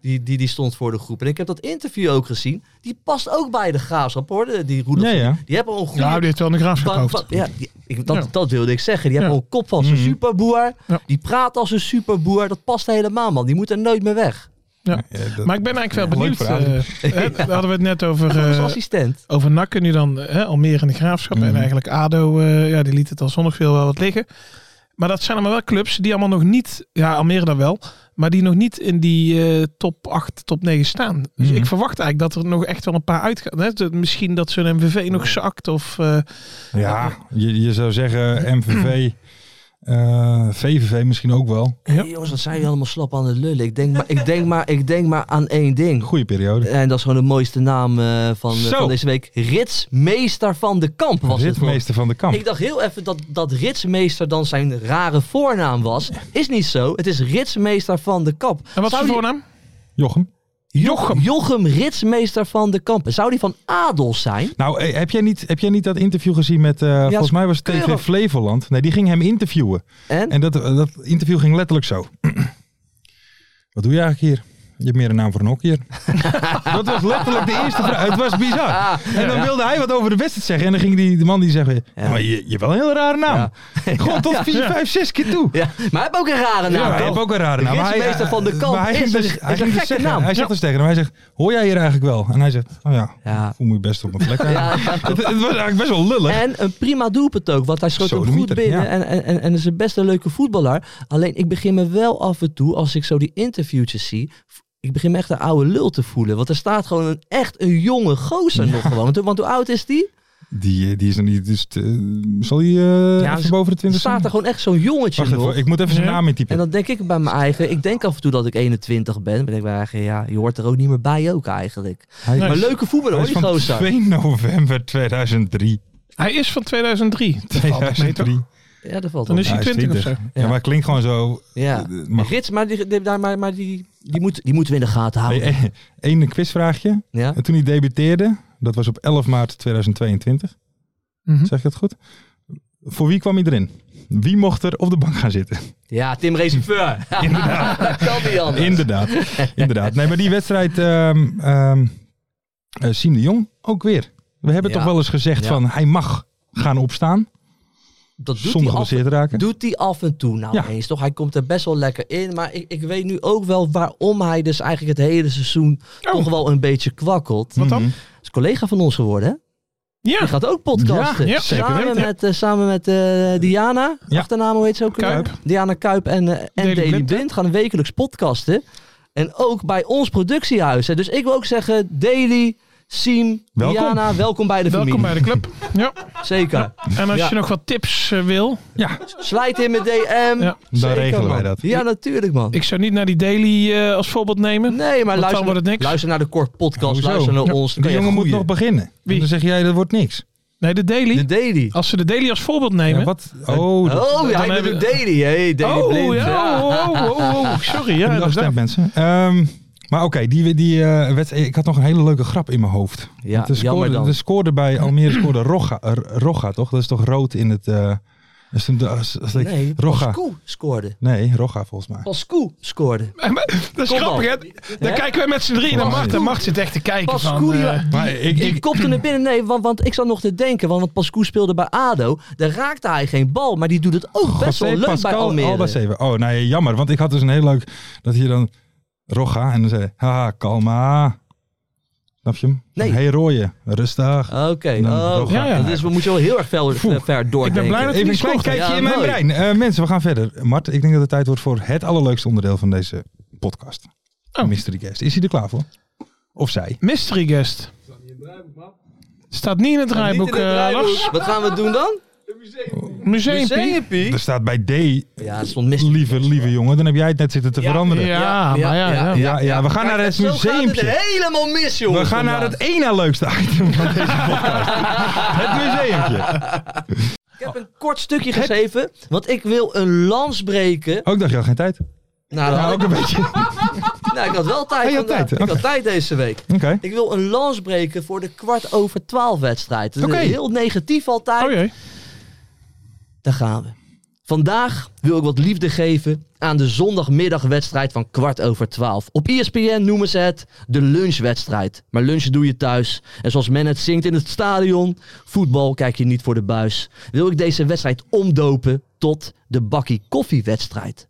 B: Die, die, die stond voor de groep. En ik heb dat interview ook gezien. Die past ook bij de graafschap, hoor. de- Die Roelofsen.
D: Ja, ja.
B: Die hebben al een goede...
C: Nou, dit heeft wel een graafschap
B: Pa-
C: hoofd.
B: pa- ja, die- ik, dat,
C: Ja.
B: dat wilde ik zeggen. Die
C: Ja.
B: hebben al een kop als een
D: Mhm.
B: superboer.
C: Ja.
B: Die praat als een superboer. Dat past helemaal, man. Die moet er nooit meer weg.
C: Ja.
D: Ja, dat-
C: Maar ik ben eigenlijk
D: Ja,
C: wel benieuwd.
D: leuk voor
C: eh,
D: Adrie.
C: hè, daar hadden we het net over,
B: Als
C: eh
B: assistent.
C: over Nakken nu dan. eh, Hè, Almere en de Graafschap.
D: Mhm.
C: En eigenlijk ADO, eh, ja, die liet het al zonnig veel wel wat liggen. Maar dat zijn allemaal wel clubs die allemaal nog niet... Ja, Almere dan wel. Maar die nog niet in die eh, top 8, top 9 staan. Dus
D: Mhm.
C: ik verwacht eigenlijk dat er nog echt wel een paar uitgaan. Hè? Dat- Misschien dat zo'n MVV nog zakt. Of, eh,
D: Ja, je, je zou zeggen MVV, eh, VVV misschien ook wel.
C: Ja.
B: Hey, jongens, wat zijn jullie allemaal slap aan het lullen. Ik denk maar, ik denk maar, ik denk maar aan één ding.
D: Goede periode.
B: En dat is gewoon de mooiste naam eh, van, eh,
D: Zo.
B: van deze week. Ritsmeester van de Kamp was het voor.
D: Ritmeester van de Kamp.
B: Ik dacht heel even dat, dat Ritsmeester dan zijn rare voornaam was. Is niet zo. Het is Ritsmeester van de Kamp.
C: en wat is
B: Zou
C: de
B: die-
C: voornaam?
D: Jochem.
C: Jochem.
B: Jochem Ritsmeester van de Kamp. Zou die van adel zijn?
D: Nou, eh, heb jij niet, heb jij niet dat interview gezien met, eh, volgens mij was het TV
B: keurig.
D: Flevoland. Nee, die ging hem interviewen.
B: En?
D: En dat, eh, dat interview ging letterlijk zo. Wat doe je eigenlijk hier? Je hebt meer een naam voor een hockeyer. dat was letterlijk de eerste vraag. Het was bizar. En dan wilde hij wat over de wedstrijd zeggen. En dan ging die, de man die zeggen,
B: Ja.
D: maar je, je hebt wel een hele rare naam. Gewoon tot vier, vijf, zes keer toe.
B: Ja, maar hij heeft ook een rare naam.
D: Ja, hij
B: toch?
D: heeft ook een rare naam.
B: De
D: Maar hij-
B: ritsmeester van de kamp
D: maar hij
B: is,
D: ging
B: een-
D: dus-
B: is
D: hij ging
B: een
D: dus
B: gekke
D: zeggen-
B: naam.
D: Hij zegt dus tegen hem, hij zegt, hoor jij hier eigenlijk wel? En hij zegt, oh ja,
B: Ja.
D: ik voel me best op mijn plek.
B: Ja, Eh. ja.
D: het, het was eigenlijk best wel lullig.
B: En een prima doelpunt ook, want hij schoot
D: Zo,
B: hem
D: de
B: goed
D: mieter,
B: binnen
D: ja.
B: en, en, en, en is een best een leuke voetballer. Alleen ik begin me wel af en toe, als ik zo die interviewtjes zie, v- ik begin me echt een oude lul te voelen. Want er staat gewoon een, echt een jonge gozer nog gewoon. Want, want hoe oud is die?
D: Die, eh, die is nog niet, dus eh, zal hij eh
B: Ja,
D: even boven de
B: Er
D: 20 zijn?
B: staat er gewoon echt zo'n jongetje
D: Wacht
B: nog.
D: even, ik moet even zijn
C: Ja.
D: naam intypen.
B: En dan denk ik bij mijn eigen, ik denk af en toe dat ik 21 ben. Maar ik denk bij mijn eigen, ja, je hoort er ook niet meer bij ook eigenlijk.
D: Hij,
C: Nee.
B: Maar leuke voetballer
D: hij
B: hoor,
D: is
B: die gozer.
D: van 2 november 2003.
C: Hij is van 2003. Dat valt mee, toch?
D: 2003.
B: Ja, dat valt
C: Dan
B: op.
C: is hij 20 of zo.
D: Ja,
B: Ja.
D: maar het klinkt gewoon zo...
B: Ja.
D: eh, Maar goed.
B: Rits, maar die, die, daar- maar, maar die, die, moet, die moeten we in de gaten houden.
D: Hey, eh, Eén quizvraagje.
B: Ja?
D: En toen hij debuteerde, dat was op 11 maart 2022.
C: Mhm.
D: Zeg ik dat goed? Voor wie kwam hij erin? Wie mocht er op de bank gaan zitten?
B: ja, Tim Reserveur. Inderdaad. dat kan niet anders.
D: Inderdaad. Inderdaad. Nee, maar die wedstrijd... ehm ehm, eh, Siem de Jong ook weer. We hebben
B: Ja.
D: toch wel eens gezegd
B: Ja.
D: van hij mag gaan opstaan.
B: dat doet hij,
D: zonder
B: af,
D: geblesseerd te raken.
B: doet hij af en toe nou
D: Ja.
B: eens, toch? Hij komt er best wel lekker in. Maar ik, ik weet nu ook wel waarom hij dus eigenlijk het hele seizoen toch wel een beetje kwakkelt.
C: Oh. Wat dan?
D: Mhm.
B: Is collega van ons geworden, hè?
C: Ja,
B: Die gaat ook podcasten.
C: Ja, ja, zeker
B: samen,
C: weten.
B: met, eh, samen met eh, Diana,
D: Ja.
B: achternaam hoe heet ze ook? weer?
C: Kuip.
B: Diana Kuip en, eh, en
C: Daily
B: Daily
C: Blind, hè?
B: Blind gaan wekelijks podcasten. En ook bij ons productiehuis. hè. Dus ik wil ook zeggen, Daily, Siem,
D: Welkom.
B: Diana, welkom bij de
C: welkom bij
B: familie.
C: de club. Ja.
B: Zeker.
C: En als
B: Ja.
C: je nog wat tips eh, wil,
D: Ja,
B: Slijt in mijn DM.
C: Ja.
D: dan
B: Zeker,
D: regelen wij
B: man.
D: dat.
B: Ja, natuurlijk man.
C: ik zou niet naar die daily eh, als voorbeeld nemen.
B: nee, maar
C: dan
B: luister,
C: wordt het niks.
B: luister naar de kort podcast,
D: Hoezo?
B: luister naar
D: Ja.
B: ons.
D: Die jongen moet nog beginnen.
C: Wie?
D: Dan zeg jij, dat wordt niks.
C: Nee, de daily.
B: De Daily.
C: Als ze de daily als voorbeeld nemen.
D: Ja, wat? Oh, dat
B: Oh, ja, hij
C: hebben
B: bedoelt Daily. Hey, Daily
C: oh,
B: Blind.
C: ja. Oh, oh, oh, oh, sorry. Ja,
D: heb ik nog
C: inderdaad.
D: gestemd, mensen. Ehm, maar oké, die, die eh, wedstrijd, ik had nog een hele leuke grap in mijn hoofd.
B: Ja,
D: Want de,
B: jammer
D: scoorde,
B: dan.
D: de scoorde bij Almere scoorde Roga, eh, Roga, toch? Dat is toch rood in het... eh, is toen de- als- als ik-
B: Nee,
D: Roga.
B: Pascu scoorde.
D: Nee, Roga volgens mij.
B: Pascu scoorde.
C: Dat
B: Kom
C: is
B: op.
C: grappig, hè? Dan
B: Hè?
C: kijken we met z'n drieën naar
D: Kom op.
C: Mart. En Mart zit echt te kijken
B: Pascu,
C: van...
B: die,
C: eh,
D: Maar ik,
B: die
D: ik,
B: kopte naar binnen. Nee, want, want ik zat nog te denken. Want, want Pascu speelde bij ADO. Daar raakte hij geen bal. Maar die doet het ook best wel
D: José
B: leuk bij
D: eh, Pascal
B: Almere.
D: Albacete. Oh, nee, jammer. Want ik had dus een heel leuk... Dat je dan... Roga. En dan zei hij, Haha, kalma. Snap je hem?
B: Nee.
D: hey, rooien. Rustig.
B: Oké.
D: Dan
B: oh,
D: Roga.
C: Ja, ja.
B: Dus we moeten wel heel erg fel, ver doordenken.
C: Ik ben blij dat hij niet
D: Even een klein
C: scoort.
D: kijkje
B: Ja,
D: in mijn
B: mooi.
D: brein. Eh, mensen, we gaan verder. Mart, ik denk dat het tijd wordt voor het allerleukste onderdeel van deze podcast.
C: Oh.
D: Mystery Guest. Is hij er klaar voor? Of zij?
C: Mystery guest. Staat niet in het draaiboek, eh, Lars.
B: Wat gaan we doen dan?
C: Museumpie.
D: Er staat bij D,
B: Ja, het stond mis.
D: lieve, lieve jongen. Dan heb jij het net zitten te veranderen. Ja,
C: Ja, maar ja, ja.
D: ja, we gaan
B: Kijk,
D: naar het
B: zo gaat
D: museumpje.
B: het helemaal mis, jongen.
D: We gaan naar het ene leukste item van deze podcast. het museumpje.
B: heb een kort stukje geschreven, want ik wil een lans breken.
D: Ook Oh, dacht je al geen tijd.
B: Nou, dan
D: Nou,
B: had
D: ook
B: ik,
D: een beetje. Oké.
B: nou, ik had wel tijd.
D: Oh, je had
B: vandaag.
D: tijd,
B: Ik had
D: oké.
B: tijd deze week. Ik wil een lans breken voor de kwart over twaalf wedstrijd. Dat is
D: Oké.
B: Heel negatief altijd.
C: Oh jee.
B: Daar gaan we. Vandaag wil ik wat liefde geven aan de zondagmiddagwedstrijd van kwart over twaalf. Op E ESPN noemen ze het de lunchwedstrijd. Maar lunchen doe je thuis. En zoals men het zingt in het stadion, voetbal kijk je niet voor de buis. Wil ik deze wedstrijd omdopen tot de bakkie koffiewedstrijd.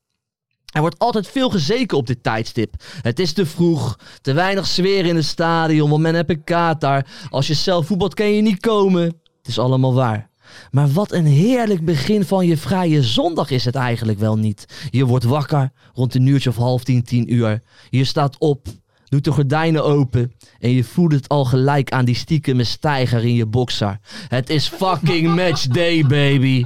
B: Er wordt altijd veel gezeken op dit tijdstip. Het is te vroeg, te weinig sfeer in het stadion, want men heeft een kater. Als je zelf voetbalt, kan je niet komen. Het is allemaal waar. Maar wat een heerlijk begin van je vrije zondag is het eigenlijk wel niet. Je wordt wakker rond een uurtje of half tien, tien uur. Je staat op, doet de gordijnen open en je voelt het al gelijk aan die stiekeme stijger in je boxer. Het is fucking match day, baby.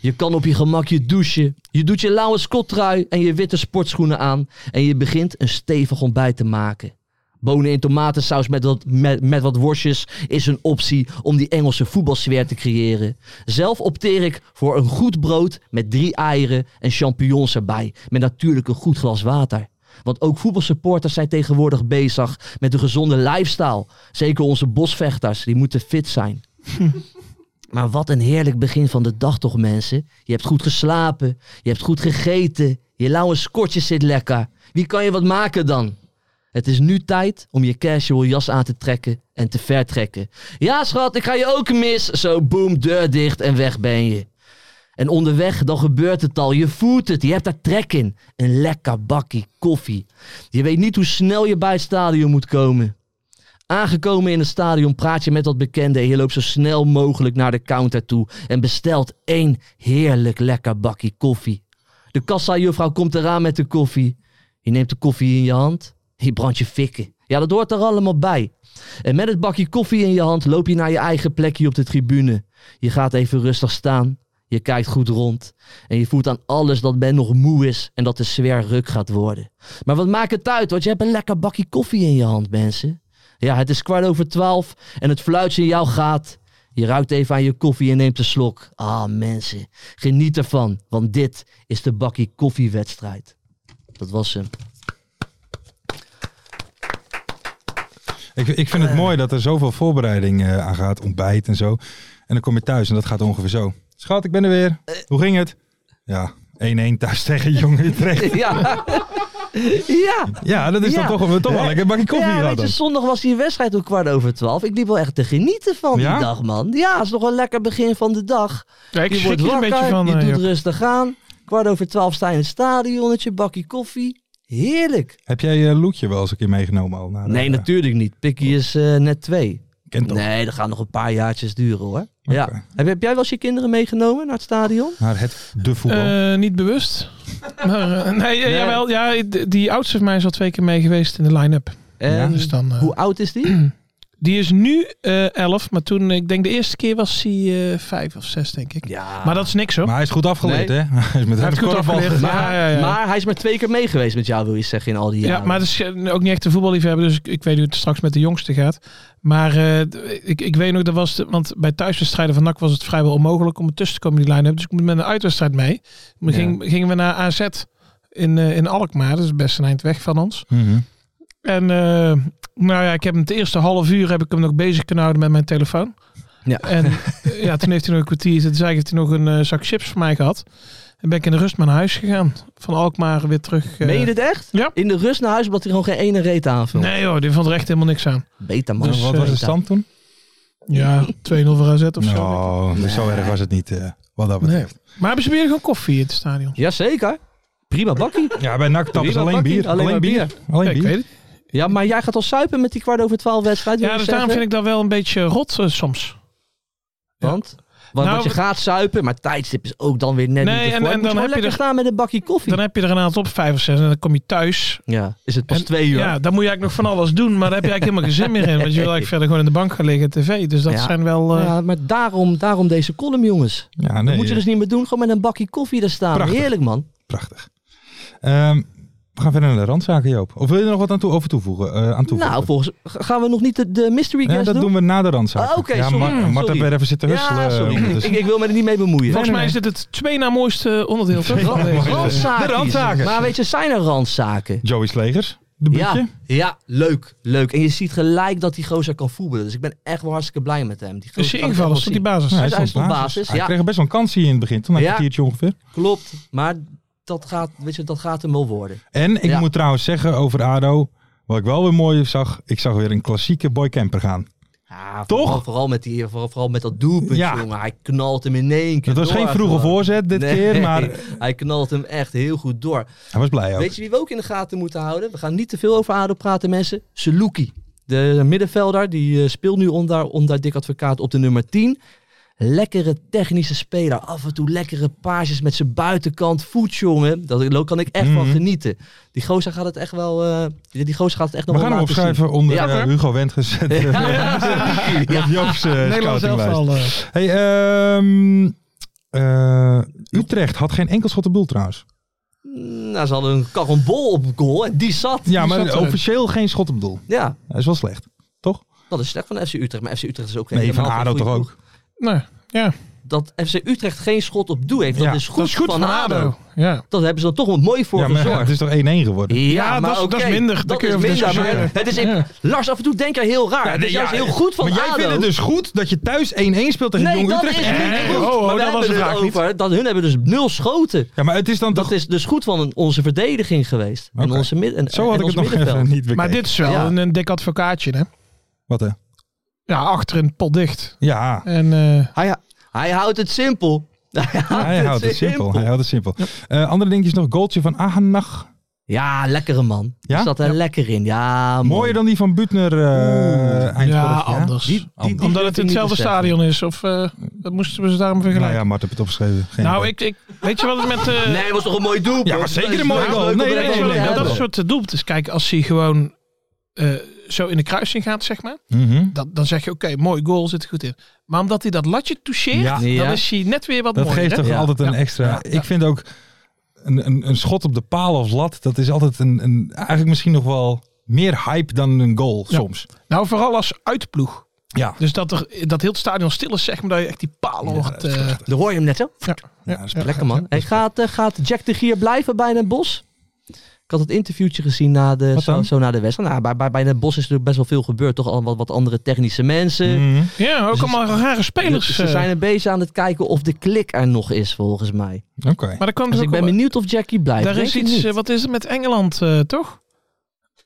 B: Je kan op je gemak je douchen. Je doet je lauwe skottrui en je witte sportschoenen aan. En je begint een stevig ontbijt te maken. Bonen in tomatensaus met wat, met, met wat worstjes is een optie om die Engelse voetbalsfeer te creëren. Zelf opteer ik voor een goed brood met drie eieren en champignons erbij. Met natuurlijk een goed glas water. Want ook voetbalsupporters zijn tegenwoordig bezig met een gezonde lifestyle. Zeker onze bosvechters, die moeten fit zijn. Maar wat een heerlijk begin van de dag toch, mensen. Je hebt goed geslapen, je hebt goed gegeten, je lauwe skortje zit lekker. Wie kan je wat maken dan? Het is nu tijd om je casual jas aan te trekken en te vertrekken. Ja, schat, ik ga je ook mis. Zo, boem, deur dicht en weg ben je. En onderweg, dan gebeurt het al. Je voelt het, je hebt daar trek in. Een lekker bakkie koffie. Je weet niet hoe snel je bij het stadion moet komen. Aangekomen in het stadion praat je met dat bekende en je loopt zo snel mogelijk naar de counter toe en bestelt één heerlijk lekker bakkie koffie. De kassa-juffrouw komt eraan met de koffie. Je neemt de koffie in je hand, je brandt je fikken. Ja, dat hoort er allemaal bij. En met het bakje koffie in je hand loop je naar je eigen plekje op de tribune. Je gaat even rustig staan, je kijkt goed rond en je voelt aan alles dat men nog moe is en dat de sfeer ruk gaat worden. Maar wat maakt het uit, want je hebt een lekker bakje koffie in je hand, mensen. Ja, het is kwart over twaalf en het fluitje in jou gaat. Je ruikt even aan je koffie en neemt een slok. Ah, mensen, geniet ervan, want dit is de bakkie koffiewedstrijd. Dat was hem.
D: Ik, ik vind het mooi dat er zoveel voorbereiding eh, aan gaat. Ontbijt en zo. En dan kom je thuis en dat gaat ongeveer zo. Schat, ik ben er weer. Hoe ging het? Ja, 1-1 thuis tegen Jong Utrecht.
B: Ja, ja.
D: Ja, dat is
B: Ja.
D: dan toch, toch wel lekker. Bakje koffie
B: ja,
D: gehad
B: weet je,
D: dan.
B: zondag was die wedstrijd om kwart over twaalf. Ik liep wel echt te genieten van
D: Ja?
B: die dag, man. Ja, het is nog een lekker begin van de dag.
C: Ja, ik
B: je
C: schrik
B: wordt
C: hier een
B: wakker,
C: beetje van.
B: je
C: eh,
B: doet
C: Joop.
B: rustig aan. Kwart over twaalf sta je in het stadionnetje, bakje koffie. Heerlijk.
D: Heb jij eh, Loetje wel eens een keer meegenomen al? naar de-
B: Ah, Nee, natuurlijk niet. Pikkie is eh, net twee.
D: Kent toch?
B: Nee, dat gaat nog een paar jaartjes duren hoor.
D: Oké.
B: Ja. Heb, heb jij wel eens je kinderen meegenomen naar het stadion?
D: Naar het de voetbal.
C: Eh, niet bewust. maar, eh, nee, eh,
B: Nee.
C: Jawel, ja, d- die oudste van mij is al twee keer mee geweest in de line-up.
B: En
C: Dus dan, eh,
B: hoe oud is die?
C: die is nu eh elf, maar toen, ik denk de eerste keer was hij eh, vijf of zes, denk ik.
B: Ja.
C: Maar dat is niks hoor.
D: Maar hij is goed afgeleid,
B: Nee.
D: hè? Hij is met
C: Hij heeft goed
D: korfbal
C: afgelegd.
D: gedaan.
C: Ja, ja, ja.
B: Maar hij is maar twee keer mee geweest met jou, wil je zeggen, in al die jaren.
C: Ja, maar het is eh, ook niet echt een voetballiefhebber, dus ik, ik weet hoe het straks met de jongste gaat. Maar eh, d- ik, ik weet nog, dat was de- want bij thuiswedstrijden van NAC was het vrijwel onmogelijk om ertussen te komen in die line-up. Dus ik moet met een uitwedstrijd mee. We
D: Ja.
C: gingen- gingen we naar AZ in, eh, in Alkmaar, dat is best een eind weg van ons.
D: Mhm.
C: En eh, nou ja, ik heb hem het eerste half uur heb ik hem nog bezig kunnen houden met mijn telefoon.
B: Ja.
C: En eh, ja, toen heeft hij nog een kwartier, toen zei ik, heeft hij nog een eh, zak chips voor mij gehad. En ben ik in de rust maar naar huis gegaan. Van Alkmaar weer terug. eh,
B: Meen je dit echt?
C: Ja.
B: In de rust naar huis, omdat hij gewoon geen ene reet aanvult.
C: Nee joh, die vond er echt helemaal niks aan.
B: Beta man.
C: Dus,
D: Wat
C: eh,
D: was de stand toen?
C: Ja, 2-0 voor AZ of zo.
D: Nou, dus zo erg was het niet, eh, wat dat betreft.
C: Maar hebben ze weer gewoon koffie in het stadion?
B: Jazeker. Prima bakkie.
D: Ja, bij NAC tappen ze
B: Prima
D: alleen
B: pakkie,
D: bier.
B: alleen maar
D: Alleen bier. Alleen
C: Ja, ik
D: bier.
C: weet het.
B: Ja, maar jij gaat al suipen met die kwart over twaalf wedstrijd. wil
C: Ja,
B: je
C: dus daarom
B: zeggen?
C: vind ik dat wel een beetje rot eh, soms.
B: Want? Want
C: Nou,
B: dat je
C: we-
B: gaat suipen, maar tijdstip is ook dan weer net
C: Nee,
B: niet
C: en-
B: ervoor.
C: en
B: Moet je
C: dan
B: gewoon
C: heb je
B: lekker
C: er-
B: staan met een bakje koffie.
C: Dan heb je er een aantal op vijf of zes en dan kom je thuis.
B: Ja, is het pas
C: En-
B: twee uur.
C: Ja, dan moet je eigenlijk nog van alles doen, maar daar heb je eigenlijk helemaal geen zin meer in. Want je wil eigenlijk verder gewoon in de bank gaan liggen en tv. Dus dat
B: Ja.
C: zijn wel... eh,
B: Ja, maar daarom, daarom deze column, jongens.
D: Ja,
B: Dat
D: nee. eh,
B: moet je dus niet meer doen. Gewoon met een bakje koffie daar staan.
D: Prachtig.
B: Heerlijk, man.
D: Prachtig. Ehm, We gaan verder naar de randzaken, Joop. Of wil je er nog wat aan, toe, over toevoegen, eh, aan toevoegen?
B: Nou, volgens g- gaan we nog niet de, de mystery
D: Ja,
B: guest
D: dat doen we na de randzaken.
B: Ah, oké,
D: ja,
B: sorry.
D: Mar-
B: Mm,
D: Mart
B: sorry.
D: heeft weer even zitten husselen.
B: Ja, sorry.
D: eh,
B: ik,
D: ondertussen.
B: ik wil me er niet mee bemoeien.
C: dus. Volgens mij
D: nee.
C: is dit het twee na mooiste onderdeel toch?
D: Twee na
C: van deze-
D: mooiste. Eh,
B: Randzaken.
D: De randzaken.
B: Maar weet je, zijn er randzaken?
D: Joey Slegers, de
B: Ja,
D: boetje.
B: ja, leuk, leuk. En je ziet gelijk dat die gozer kan voetballen. Dus ik ben echt wel hartstikke blij met hem. Die gozer
C: Is je
B: kan het
C: invallen?
B: echt
C: Stond
B: wel
C: die basis?
B: hij is op basis,
D: Hij
B: ja.
D: kreeg best wel een kans hier in het begin, toen na
B: Ja.
D: een kwartiertje ongeveer.
B: zien. Klopt, maar dat gaat, weet je, dat gaat hem wel worden.
D: En ik
B: Ja.
D: moet trouwens zeggen over ADO, wat ik wel weer mooi zag, ik zag weer een klassieke boy camper gaan.
B: Ja,
D: Toch?
B: Vooral, vooral met die, vooral, vooral met dat doelpunt,
D: Ja.
B: jongen. Hij knalt hem in één keer
D: Het was
B: door
D: geen vroege
B: gewoon.
D: voorzet dit
B: Nee,
D: keer, maar
B: hij knalt hem echt heel goed door.
D: hij was blij ook.
B: Weet je wie we ook in de gaten moeten houden? We gaan niet te veel over ADO praten, mensen. Saluki, de middenvelder, die eh, speelt nu onder, onder Dick Advocaat op de nummer 10. Lekkere technische speler. Af en toe lekkere paasjes met zijn buitenkant voet, jongen. Daar kan ik echt van
D: Mhm. genieten.
B: genieten. Die gozer gaat het echt wel... eh, die die gozer gaat het echt nog
D: We
B: wel
D: gaan hem
B: laten zien.
D: opschrijven onder
B: Ja,
D: eh,
B: hoor.
D: Hugo Wendt gezet. Op Joop's eh,
C: Nederland zelf
D: scoutinglijst.
C: al. eh,
D: Hey, ehm, eh, Utrecht had geen enkel schot op doel trouwens.
B: Nou, ze hadden een karambol op goal en die zat.
D: Ja,
C: zat
D: maar
C: erin.
D: officieel geen schot op doel.
B: Ja,
D: Dat is wel slecht.
B: dat is slecht van FC Utrecht. Maar FC Utrecht is ook geen
D: Nee, van
B: helemaal geen
D: ADO toch
B: goede
D: ook.
C: nou,
B: ploeg. Dat FC Utrecht geen schot op doel heeft, dat
D: Ja,
B: is goed,
C: dat is goed
B: van, ADO.
C: Ja.
B: Dat hebben ze dan toch wel mooi voor
D: Ja, maar het
B: gezorgd.
D: is toch 1-1 geworden.
C: Ja, dat is-
B: oké,
C: dat is minder. Daar
B: Dat
C: kun
B: is
C: je over
B: minder.
C: discussiëren.
B: maar het is in-
C: Ja.
B: Lars, af en toe denk jij heel raar. het is
D: ja,
B: juist heel goed van
D: maar jij
B: ADO.
D: vindt het dus goed dat je thuis 1-1 speelt tegen
B: nee,
D: Jong
B: dat
D: Utrecht?
B: is niet goed.
D: Eh,
C: ho, ho,
B: maar we
C: dat was de
B: hebben
C: vraag
B: het
C: niet.
B: over dat hun hebben dus nul schoten.
D: Ja, maar het is dan toch...
B: Dat is dus goed van een- onze verdediging geweest. En
D: Oké.
B: onze midden. En,
D: Zo had
B: en
D: ik het
B: ons
D: nog
B: middenveld.
D: even niet bekeken.
C: Maar dit is wel
B: Ja.
C: een, een dik advocaatje, hè?
D: Wat hè?
C: Ja, achterin pot dicht.
D: Ja,
B: Ah,
C: En eh,
B: Hij, hij houdt het simpel. Hij houdt,
D: hij houdt het simpel. Hij houdt het simpel. Eh, andere dingetje is nog goaltje van Ahanach.
B: Ja, lekkere man.
D: Ja?
B: Ja? Zat er lekker in. Ja, man.
D: Mooier dan die van Butner eh eind
C: ja,
D: vorig jaar.
C: anders.
B: Die- die-
D: Anders.
B: die-
C: Omdat
B: durf
C: het
B: ik niet
C: hetzelfde
B: te zeggen.
C: stadion is. Of eh, dat moesten we ze daarom
D: Nou
C: vergelijken?
D: ja, Mart heeft het opgeschreven. Geen
C: Nou,
D: idee.
C: ik, ik, weet je wat het met... eh,
B: Nee, het was toch een mooi doelpunt?
D: Ja, maar zeker een mooie
B: Dat is
D: goal.
B: leuk om
D: Nee,
B: er
D: nee,
B: even
C: weet je
D: nee,
B: over
C: wat
B: te
C: het-
D: nee,
C: dat
B: hebben.
C: is soort eh, doelpunten. is? Kijk, als hij gewoon eh, zo in de kruising gaat, zeg maar.
D: Mhm.
C: Dat, dan zeg je, oké, mooi goal, zit er goed in. Maar omdat hij dat latje toucheert,
D: Ja.
B: Ja.
C: dan is hij net weer wat
D: Dat
C: mooier.
D: geeft
C: hè?
D: toch
B: Ja.
D: altijd een
C: Ja.
D: extra...
C: Ja.
D: Ik vind ook een, een, een schot op de paal of lat, dat is altijd een, een, eigenlijk misschien nog wel meer hype dan een goal
C: Ja.
D: soms.
C: Nou, vooral als uitploeg.
D: Ja.
C: Dus dat, er, dat heel het stadion stil is, zeg maar, dat je echt die palen hoort. eh, Ja,
B: Daar hoor je hem net zo.
C: ja,
D: dat is
C: ja.
B: Lekker man. Hey, gaat, eh, gaat Jack de Gier blijven bij Den Bos? Ik had het interviewtje gezien na de,
D: Wat
B: zo,
D: dan?
B: zo na de wedstrijd. Nou, bij, bij, bij Den Bos is natuurlijk best wel veel gebeurd. Toch al wat, wat andere technische mensen.
D: Mhm.
C: Ja, ook
B: Dus-
C: allemaal rare spelers.
B: Ze
C: eh.
B: zijn er bezig aan het kijken of de klik er nog is, volgens mij.
D: Oké.
C: Maar daar kwam
B: Dus
C: dus
B: ik
C: ook
B: ben
C: wel-
B: benieuwd of Jackie blijft.
C: Daar
B: Denk
C: is
B: ik
C: iets,
B: niet.
C: eh, wat is het met Engeland, eh, toch?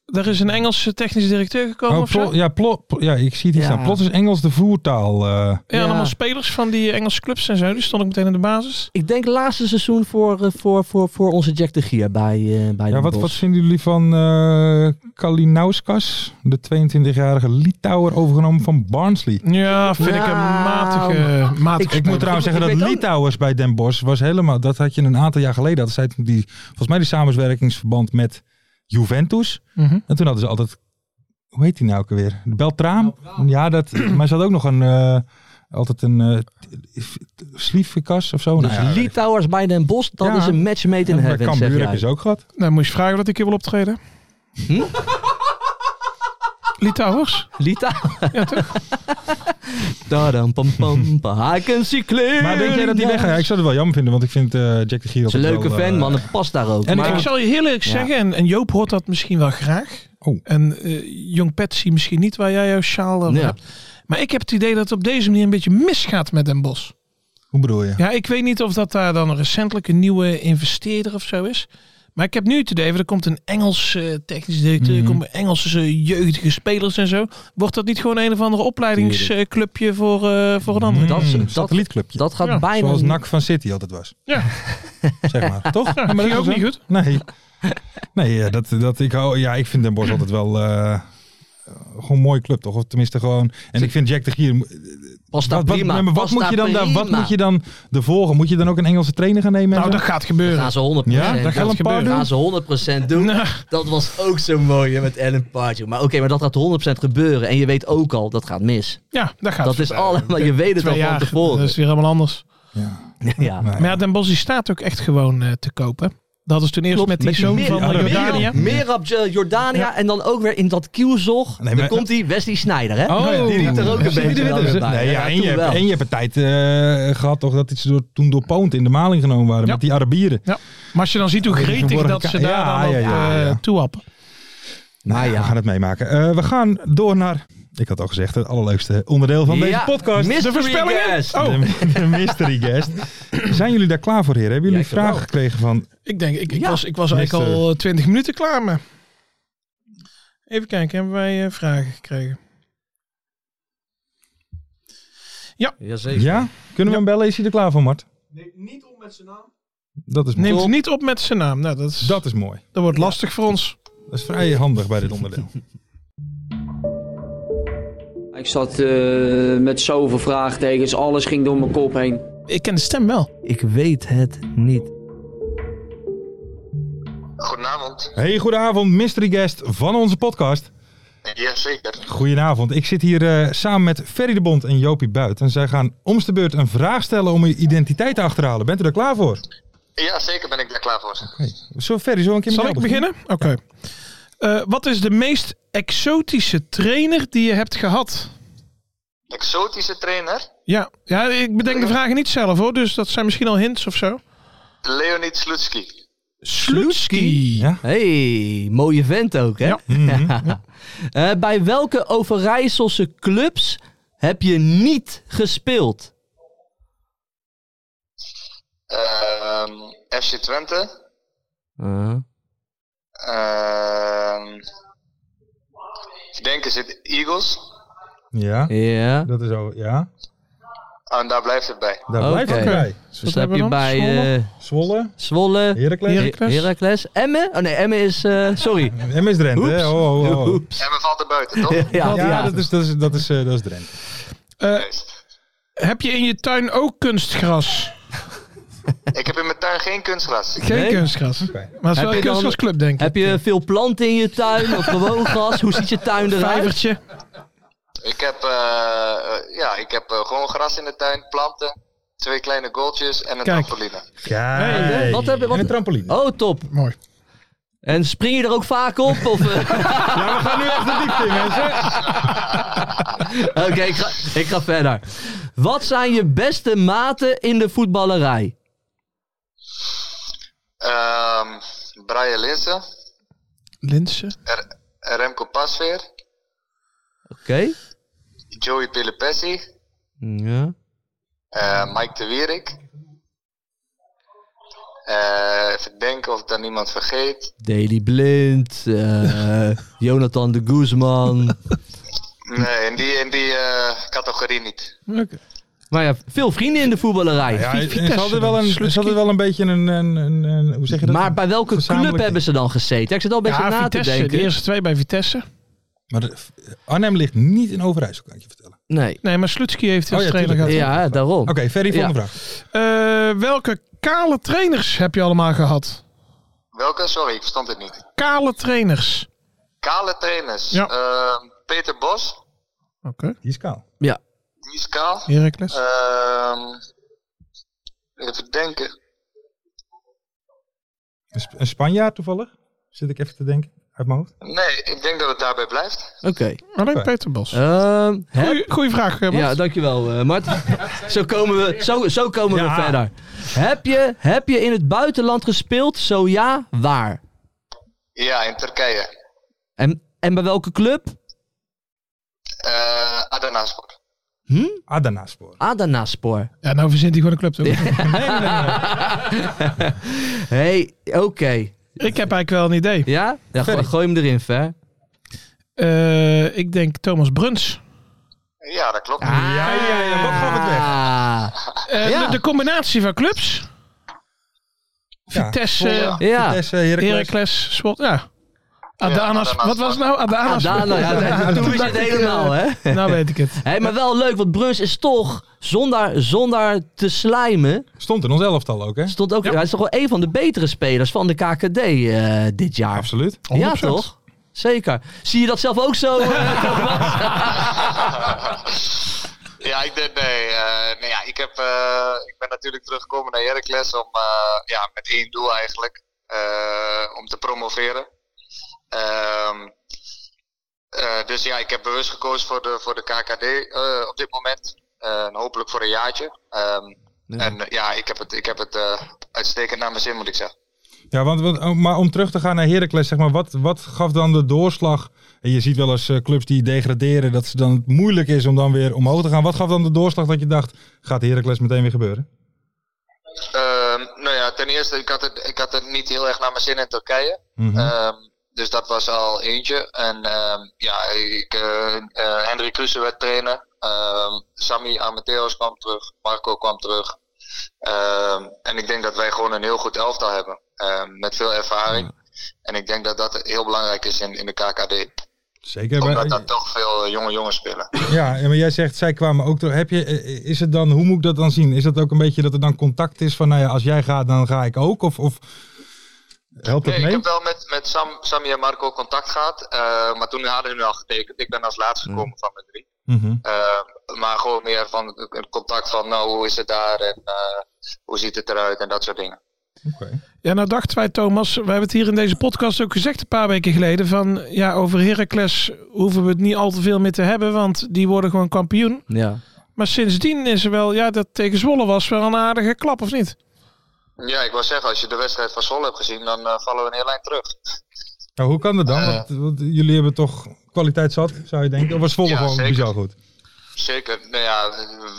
C: Daar is een Engelse technische directeur gekomen
D: Oh,
C: of zo.
D: plo- ja, plo- plo- ja, ik zie het hier
B: Ja.
D: staan. Plots is Engels de voertaal. eh.
C: Ja,
B: ja.
C: allemaal spelers van die Engelse clubs en zo. Die stond ik meteen in de basis.
B: Ik denk laatste seizoen voor, eh, voor, voor, voor onze Jack de Gier bij, eh bij
D: Ja,
B: Den
D: wat,
B: Bosch.
D: wat vinden jullie van eh Kalinauskas, de 22-jarige Litouwer overgenomen van Barnsley?
C: Ja, vind ik een
B: Nou,
C: matige, matige
D: Ik moet trouwens
B: ik-
D: zeggen
B: ik
D: dat
B: weet ook-
D: Litouwers bij Den Bosch was helemaal. Dat had je een aantal jaar geleden. Dat zij toen die, volgens mij die samenwerkingsverband met Juventus.
C: Mhm.
D: En toen hadden ze altijd. Hoe heet die nou ook weer? Beltraam? Ja, dat, maar ze had ook nog een. eh, altijd een. eh, Slievekas of zo.
B: Dus
D: Nou ja,
B: Lee Towers bij Den Bosch, dat
D: Ja.
B: is een match made in
D: bij
B: heaven, zeg
D: Cambuur heb
B: jij.
D: je ze ook gehad.
C: Nou, moest je vragen dat ik hier wil optreden.
B: Hm?
C: Litouwers?
B: Lita. Tadam, pam, pam, pam. I can see clearly
D: Maar denk jij dat die
B: now.
D: weggaat? Ja, ik zou het wel jammer vinden, want ik vind eh, Jack de Gier
B: Dat is een
D: altijd
B: leuke
D: wel, eh,
B: fan, man. Het past daar ook.
D: En
B: maar
C: Ik zal je heel eerlijk
B: Ja.
C: zeggen, en, en Joop hoort dat misschien wel graag.
D: Oh.
C: En eh, Jong Patsy misschien niet, waar jij jouw sjaal eh,
B: Ja.
C: hebt. Maar ik heb het idee dat het op deze manier een beetje misgaat met Den Bosch.
D: Hoe bedoel je?
C: Ja, ik weet niet of dat daar dan recentelijk een nieuwe investeerder of zo is. Maar ik heb nu het idee, er komt een Engels eh, technisch directeur, er
D: Mhm.
C: komen Engelse eh, jeugdige spelers en zo. Wordt dat niet gewoon een of andere opleidingsclubje voor, eh, voor een andere?
D: Mm,
B: dat is- dat-
D: satellietclubje.
B: dat gaat
C: Ja,
B: bijna...
D: Zoals
B: niet-
D: NAC van City altijd was.
C: Ja.
D: zeg maar, toch?
C: Ja, maar dat is ook niet goed.
D: Nee. Nee, eh, dat, dat, ik, hou- ja, ik vind Den Bosch altijd wel... eh, gewoon een mooie club, toch? Of tenminste gewoon... En ik vind Jack de Gier...
B: Past daar
D: Wat, wat,
B: prima.
D: nee, maar wat,
B: past
D: moet
B: daar
D: je dan, daar- wat
B: prima.
D: moet je dan de volgen? Moet je dan ook een Engelse trainer gaan nemen? en
C: Nou,
D: zo?
C: dat gaat gebeuren.
B: Gaan ze 100%,
D: Ja, dat
B: dat
D: gaat een paar doen.
B: gaan ze 100% doen.
C: Nou,
B: Dat was ook zo mooi hè, met Ellen Pardew. Maar oké, maar dat gaat 100% gebeuren. En je weet ook al, dat gaat mis.
C: ja, dat gaat
B: Dat is
C: gebeuren.
B: allemaal, je weet het
C: Twee
B: al van
C: jaar,
B: tevoren.
D: Dus-
C: Dat is weer helemaal anders.
D: Ja.
B: Ja.
D: Nou ja.
C: Maar ja, Den Bosch die staat ook echt gewoon eh, te kopen. Dat is toen eerst
B: Klopt,
C: met die
B: met die
C: zoon
B: Merab-
C: van eh,
D: Merab-
C: Jordanië.
B: Merab eh, Jordania en dan ook weer in dat kielzog.
D: Nee,
B: dan
D: maar-
B: komt die Wesley Sneijder, hè?
D: Oh.
B: die liet er ook een
D: Zie je
B: beetje
D: de
B: wel
D: witte-
B: weer bij.
D: Nee, ja, en,
B: toen
D: je hebt,
B: wel.
D: en je hebt een tijd eh, gehad toch dat ze door, toen door Poont in de maling genomen waren
C: Ja.
D: met die Arabieren.
C: Maar als je dan ziet hoe
D: Oh, die
C: gretig
D: verborgen
C: dat ze
D: ka-
C: daar
D: Ja,
C: dan op
D: ja, ja,
C: eh,
D: ja.
C: toehappen.
D: Nou
B: Maar
D: ja,
B: ja.
D: we gaan het meemaken. Eh, we gaan door naar, ik had al gezegd, het allerleukste onderdeel van
B: Ja,
D: deze podcast.
B: mystery
D: de voorspellingen.
B: guest.
D: Oh. De, de mystery guest. Zijn jullie daar klaar voor, heren? Hebben jullie
B: Ja, ik ben
D: vragen
B: wel.
D: gekregen van...
C: Ik denk, ik, ik
B: Ja,
C: was, ik was eigenlijk
D: meester.
C: al twintig minuten klaar mee. Even kijken, hebben wij eh, vragen gekregen?
B: Jazeker.
D: Ja? Kunnen we hem bellen? Is hij er klaar voor, Mart? Neemt niet op met zijn naam. Dat is mooi.
C: Neemt niet op met zijn naam. Nou, dat, is, dat,
D: Dat is mooi.
C: wordt lastig voor ons.
D: Dat is vrij handig bij dit onderdeel.
F: Ik zat eh, met zoveel vraagtekens, alles ging door mijn kop heen.
C: Ik ken de stem wel.
B: Ik weet het niet.
G: Goedenavond.
D: Hey, goedenavond, mystery guest van onze podcast.
G: Jazeker.
D: Goedenavond, ik zit hier eh, samen met Ferry de Bond en Jopie Buit. En zij gaan om de beurt een vraag stellen om je identiteit te achterhalen. Bent u er klaar voor?
G: Ja, zeker ben ik daar klaar voor.
D: Oké. Zo, Ferry, zo een keer met
C: Zal
D: jou
C: ik beginnen? Oké. Eh, wat is de meest exotische trainer die je hebt gehad?
G: Exotische trainer,
C: Ja, ja ik bedenk de vragen niet zelf hoor, dus dat zijn misschien al hints of zo.
G: Leonid Slutski.
C: Slutski.
D: Ja.
B: hey, mooie vent ook, hè?
C: Ja.
D: Mhm.
B: Eh, bij welke Overijsselse clubs heb je niet gespeeld?
G: Ehm, FC Twente.
B: Eh,
G: Ehm ik denk is het Eagles.
D: Ja,
B: Ja.
D: dat is al. Ja,
G: Oh, en daar blijft het bij.
D: daar
B: Oké.
D: blijft het bij.
B: Dus heb
C: Wat hebben we
B: je
C: dan?
B: bij
C: Zwolle?
B: eh,
D: Zwolle,
B: Zwolle,
D: Heracles,
C: Heracles.
B: Heracles, Emmen? Oh nee, Emmen is... eh, sorry.
D: MS Drenthe.
B: Oeps.
D: hè? Oh, oh, oh.
B: Oeps.
G: En we valt er buiten, toch?
B: Ja, ja,
D: Ja, dat is, dat is, dat is, eh, dat is Drenthe.
C: Eh,
G: Juist.
C: heb je in je tuin ook kunstgras?
G: Ik heb in mijn tuin geen kunstgras.
C: Geen
B: Nee.
C: kunstgras.
D: Oké.
C: Maar het is
B: Heb
C: wel
B: je
C: een
B: dan-
C: kunstgrasclub, denk ik.
B: Heb je veel planten in je tuin of gewoon gras? Hoe ziet je tuin
C: een
B: eruit?
C: vijvertje?
G: Ik heb, eh, eh, ja, ik heb eh, gewoon gras in de tuin, planten, twee kleine goaltjes en een
C: Kijk.
G: trampoline.
D: Kijk.
B: Hey, wat heb je- wat-
D: En een trampoline.
B: Oh, top.
C: Mooi.
B: En spring je er ook vaak op? Of, eh?
D: Ja, we gaan nu echt de diepte in, mensen.
B: Oké, ik, ga, ik ga verder. Wat zijn je beste maten in de voetballerij?
G: Ehm Brian Linsen,
C: Linsen.
G: R- Remco Pasveer,
B: Oké.
G: Joey Pelopessi,
B: Ja.
G: eh, Mike de Wierik. Eh, even denken of ik daar niemand vergeet.
B: Daily Blind, eh, Jonathan de Guzman.
G: Nee, in die, in die eh, categorie niet.
B: Maar Nou ja, veel vrienden in de voetballerij.
D: Ja,
B: Vi-
D: en ze hadden wel een, ze hadden wel een beetje een, een, een, een- hoe zeg je dat?
B: maar bij welke
D: Gezamenlijk-
B: club hebben ze dan gezeten? Ik zit al een beetje
C: Ja,
B: na te
C: Vitesse.
B: denken.
C: De eerste twee bij Vitesse.
D: Maar de- Arnhem ligt niet in Overijssel, kan ik je vertellen.
B: Nee.
C: Nee, maar Slutski heeft heel
D: Oh ja,
C: trainer gehad.
D: tuurlijk.
B: Ja, daarom.
D: Oké, Ferry, volgende vraag.
C: Eh, welke kale trainers heb je allemaal gehad?
G: Welke? Sorry, ik verstond het niet.
C: Kale trainers.
G: Kale trainers.
C: Ja.
G: Ehm, Peter Bos,
C: Oké.
D: Die is kaal.
B: Ja.
G: die is kaal.
C: Heracles.
G: Ehm, even denken.
D: Een, Sp- een Spanjaard toevallig, zit ik even te denken, uit mijn hoofd.
G: Nee, ik denk dat het daarbij blijft.
B: Oké.
C: Alleen
D: Oké.
C: Peter Bos.
B: Ehm, hè?
C: Goeie, goeie vraag, eh, Bas.
B: ja, dankjewel eh Mart. zo komen we, zo, zo komen
D: Ja.
B: we verder. Heb je, heb je in het buitenland gespeeld? Zo ja, waar?
G: Ja, in Turkije.
B: En, en bij welke club?
G: Eh Adanaspor.
D: Adanaspor.
B: Adanaspor.
C: Ja, nou verzint hij gewoon een club, toch?
B: hey, oké.
C: Ik heb eigenlijk wel een idee.
B: Ja? ja go-
D: Verder.
B: gooi hem erin, Ver.
C: Eh, ik denk Thomas Bruns.
G: Ja, dat klopt.
D: Ja, ja, ja, wat gaan we het weg?
B: Ah,
C: Eh,
B: Ja.
C: de, de combinatie van clubs. Vitesse,
B: eh,
G: Ja.
B: ja.
D: Vitesse, Heracles.
C: Heracles, Zwolle. Ja. Adana's.
G: Adanaspor.
C: Wat was het nou? Adana's.
B: Adana, ja, toen wist je het helemaal, hè?
C: Nou weet ik het.
B: Hé, maar wel leuk, want Bruns is toch, zonder, zonder te slijmen,
D: Stond in ons elftal ook, hè?
B: stond ook, hij is toch wel een van de betere spelers van de KKD eh, dit jaar.
D: Absoluut.
B: Ja,
C: 100%.
B: toch? Zeker. Zie je dat zelf ook zo? eh, Thomas?
G: Ja, ik, denk, nee, eh, nee, ja, ik, heb, eh, ik ben natuurlijk teruggekomen naar Heracles om, eh, ja, met één doel eigenlijk. eh, om te promoveren. Ehm, eh, dus ja, ik heb bewust gekozen voor de, voor de KKD eh, op dit moment. Eh, en hopelijk voor een jaartje. Ehm, En eh, ja, ik heb het, ik heb het eh, uitstekend naar mijn zin, moet ik zeggen.
D: Ja, want, want- maar om terug te gaan naar Heracles, zeg maar, wat, wat gaf dan de doorslag? En je ziet wel eens eh, clubs die degraderen, dat het dan moeilijk is om dan weer omhoog te gaan. Wat gaf dan de doorslag dat je dacht, gaat Heracles meteen weer gebeuren?
G: Ehm, nou ja, ten eerste, ik had, het, ik had het niet heel erg naar mijn zin in Turkije.
D: Mhm.
G: Ehm, dus dat was al eentje. En ehm, ja, ik, eh eh, Hendrik Kruse werd trainer. Ehm, Sammy Amateos kwam terug. Marco kwam terug. Ehm, en ik denk dat wij gewoon een heel goed elftal hebben. Ehm, met veel ervaring. En ik denk dat dat heel belangrijk is in, in de KKD.
D: Zeker.
G: Omdat
D: maar-
G: daar toch veel eh, jonge jongens spelen.
D: Ja, en maar jij zegt, zij kwamen ook terug. Heb je, eh, is het dan, hoe moet ik dat dan zien? Is dat ook een beetje dat er dan contact is van, nou ja, als jij gaat, dan ga ik ook? Of, of helpt dat
G: Nee, ik
D: mee?
G: heb wel met, met Sam, Sammy en Marco contact gehad. eh, maar toen hadden hun al getekend. Ik ben als laatste gekomen van mijn drie.
D: Mhm.
G: Eh, maar gewoon meer van het contact van, nou, hoe is het daar en eh, hoe ziet het eruit en dat soort dingen.
D: Oké.
C: Ja, nou dachten wij, Thomas, we hebben het hier in deze podcast ook gezegd een paar weken geleden. Van ja, over Heracles hoeven we het niet al te veel meer te hebben, want die worden gewoon kampioen.
B: Ja.
C: Maar sindsdien is er wel, ja, dat tegen Zwolle was wel een aardige klap, of niet?
G: Ja, ik wil zeggen, als je de wedstrijd van Sol hebt gezien, dan eh, vallen we een heel lijn terug.
D: Nou, hoe kan dat
G: Eh.
D: dan? Want, want jullie hebben toch kwaliteit zat, zou je denken? Of was Zwolle
G: Ja,
D: gewoon
G: zeker.
D: bizar goed?
G: Zeker. Nou ja,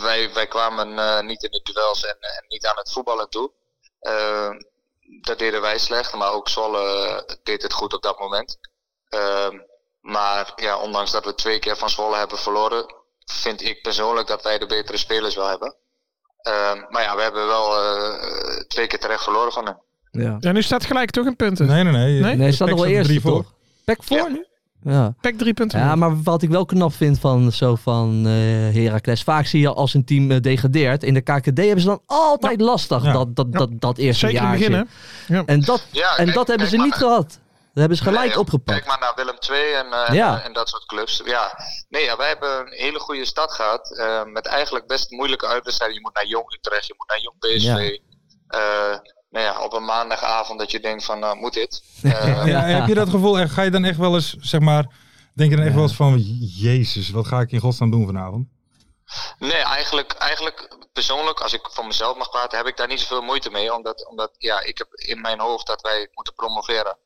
G: wij, wij kwamen eh, niet in de duels en, en niet aan het voetballen toe. Eh, dat deden wij slecht, maar ook Zwolle eh, deed het goed op dat moment. Ehm, maar ja, ondanks dat we twee keer van Zwolle hebben verloren, vind ik persoonlijk dat wij de betere spelers wel hebben. Ehm, maar ja, we hebben wel eh, twee keer terecht verloren van hen.
B: ja.
C: Ja, nu staat gelijk toch in punten.
D: Nee, nee, nee.
C: Nee?
B: Nee, hij staat
D: Pek
B: nog wel
D: er
B: eerst
D: drie voor.
B: toch? Pek voor
G: Ja.
B: nu? Ja.
C: Pek drie punten.
B: Ja, maar wat ik wel knap vind van, zo van eh Heracles. Vaak zie je als een team eh, degradeert. In de KKD hebben ze dan altijd lastig
D: Ja.
B: dat, dat,
C: Ja.
B: dat, dat eerste
C: Zeker in het
B: jaartje.
C: begin, hè?
B: En dat,
G: Ja,
B: en
G: kijk-
B: dat hebben
G: kijk
B: ze
G: maar
B: niet
G: naar-
B: gehad. Dat hebben ze gelijk
G: Nee,
B: opgepakt.
G: Kijk maar naar Willem II en, eh,
B: Ja.
G: en, en dat soort clubs. Ja. Nee, ja, wij hebben een hele goede stad gehad. eh, met eigenlijk best moeilijke uitwedstrijden. Je moet naar Jong Utrecht, je moet naar Jong PSV. Eh, nou ja, op een maandagavond dat je denkt van, nou, moet dit? Eh,
D: Ja, en heb je dat gevoel, echt- ga je dan echt wel eens, zeg maar, denk je dan echt wel eens van, jezus, wat ga ik in godsnaam doen vanavond?
G: Nee, eigenlijk, eigenlijk persoonlijk, als ik voor mezelf mag praten, heb ik daar niet zoveel moeite mee. Omdat, omdat ja, ik heb in mijn hoofd dat wij moeten promoveren.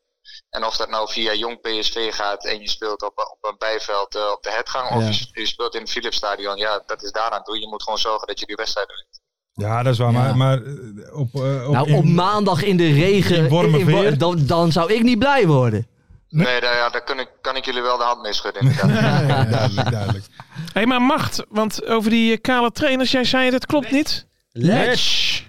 G: En of dat nou via jong PSV gaat en je speelt op, een- op een bijveld eh, op de Hetgang. Of
B: Ja.
G: je, je speelt in het Philipsstadion. Ja, dat is daaraan toe. Je moet gewoon zorgen dat je die wedstrijd wint.
D: Ja, dat is waar, maar, maar eh, op, eh, op,
B: nou,
D: in-
B: op maandag in de regen,
D: in Wormerveer.
B: Wor- dan, dan zou ik niet blij worden.
G: Nee, daar, ja, daar kun ik, kan ik jullie wel de hand mee schudden inderdaad.
D: Ja, ja, duidelijk, duidelijk.
C: hey, maar Macht, want over die eh, kale trainers, jij zei dat klopt niet.
B: Let's.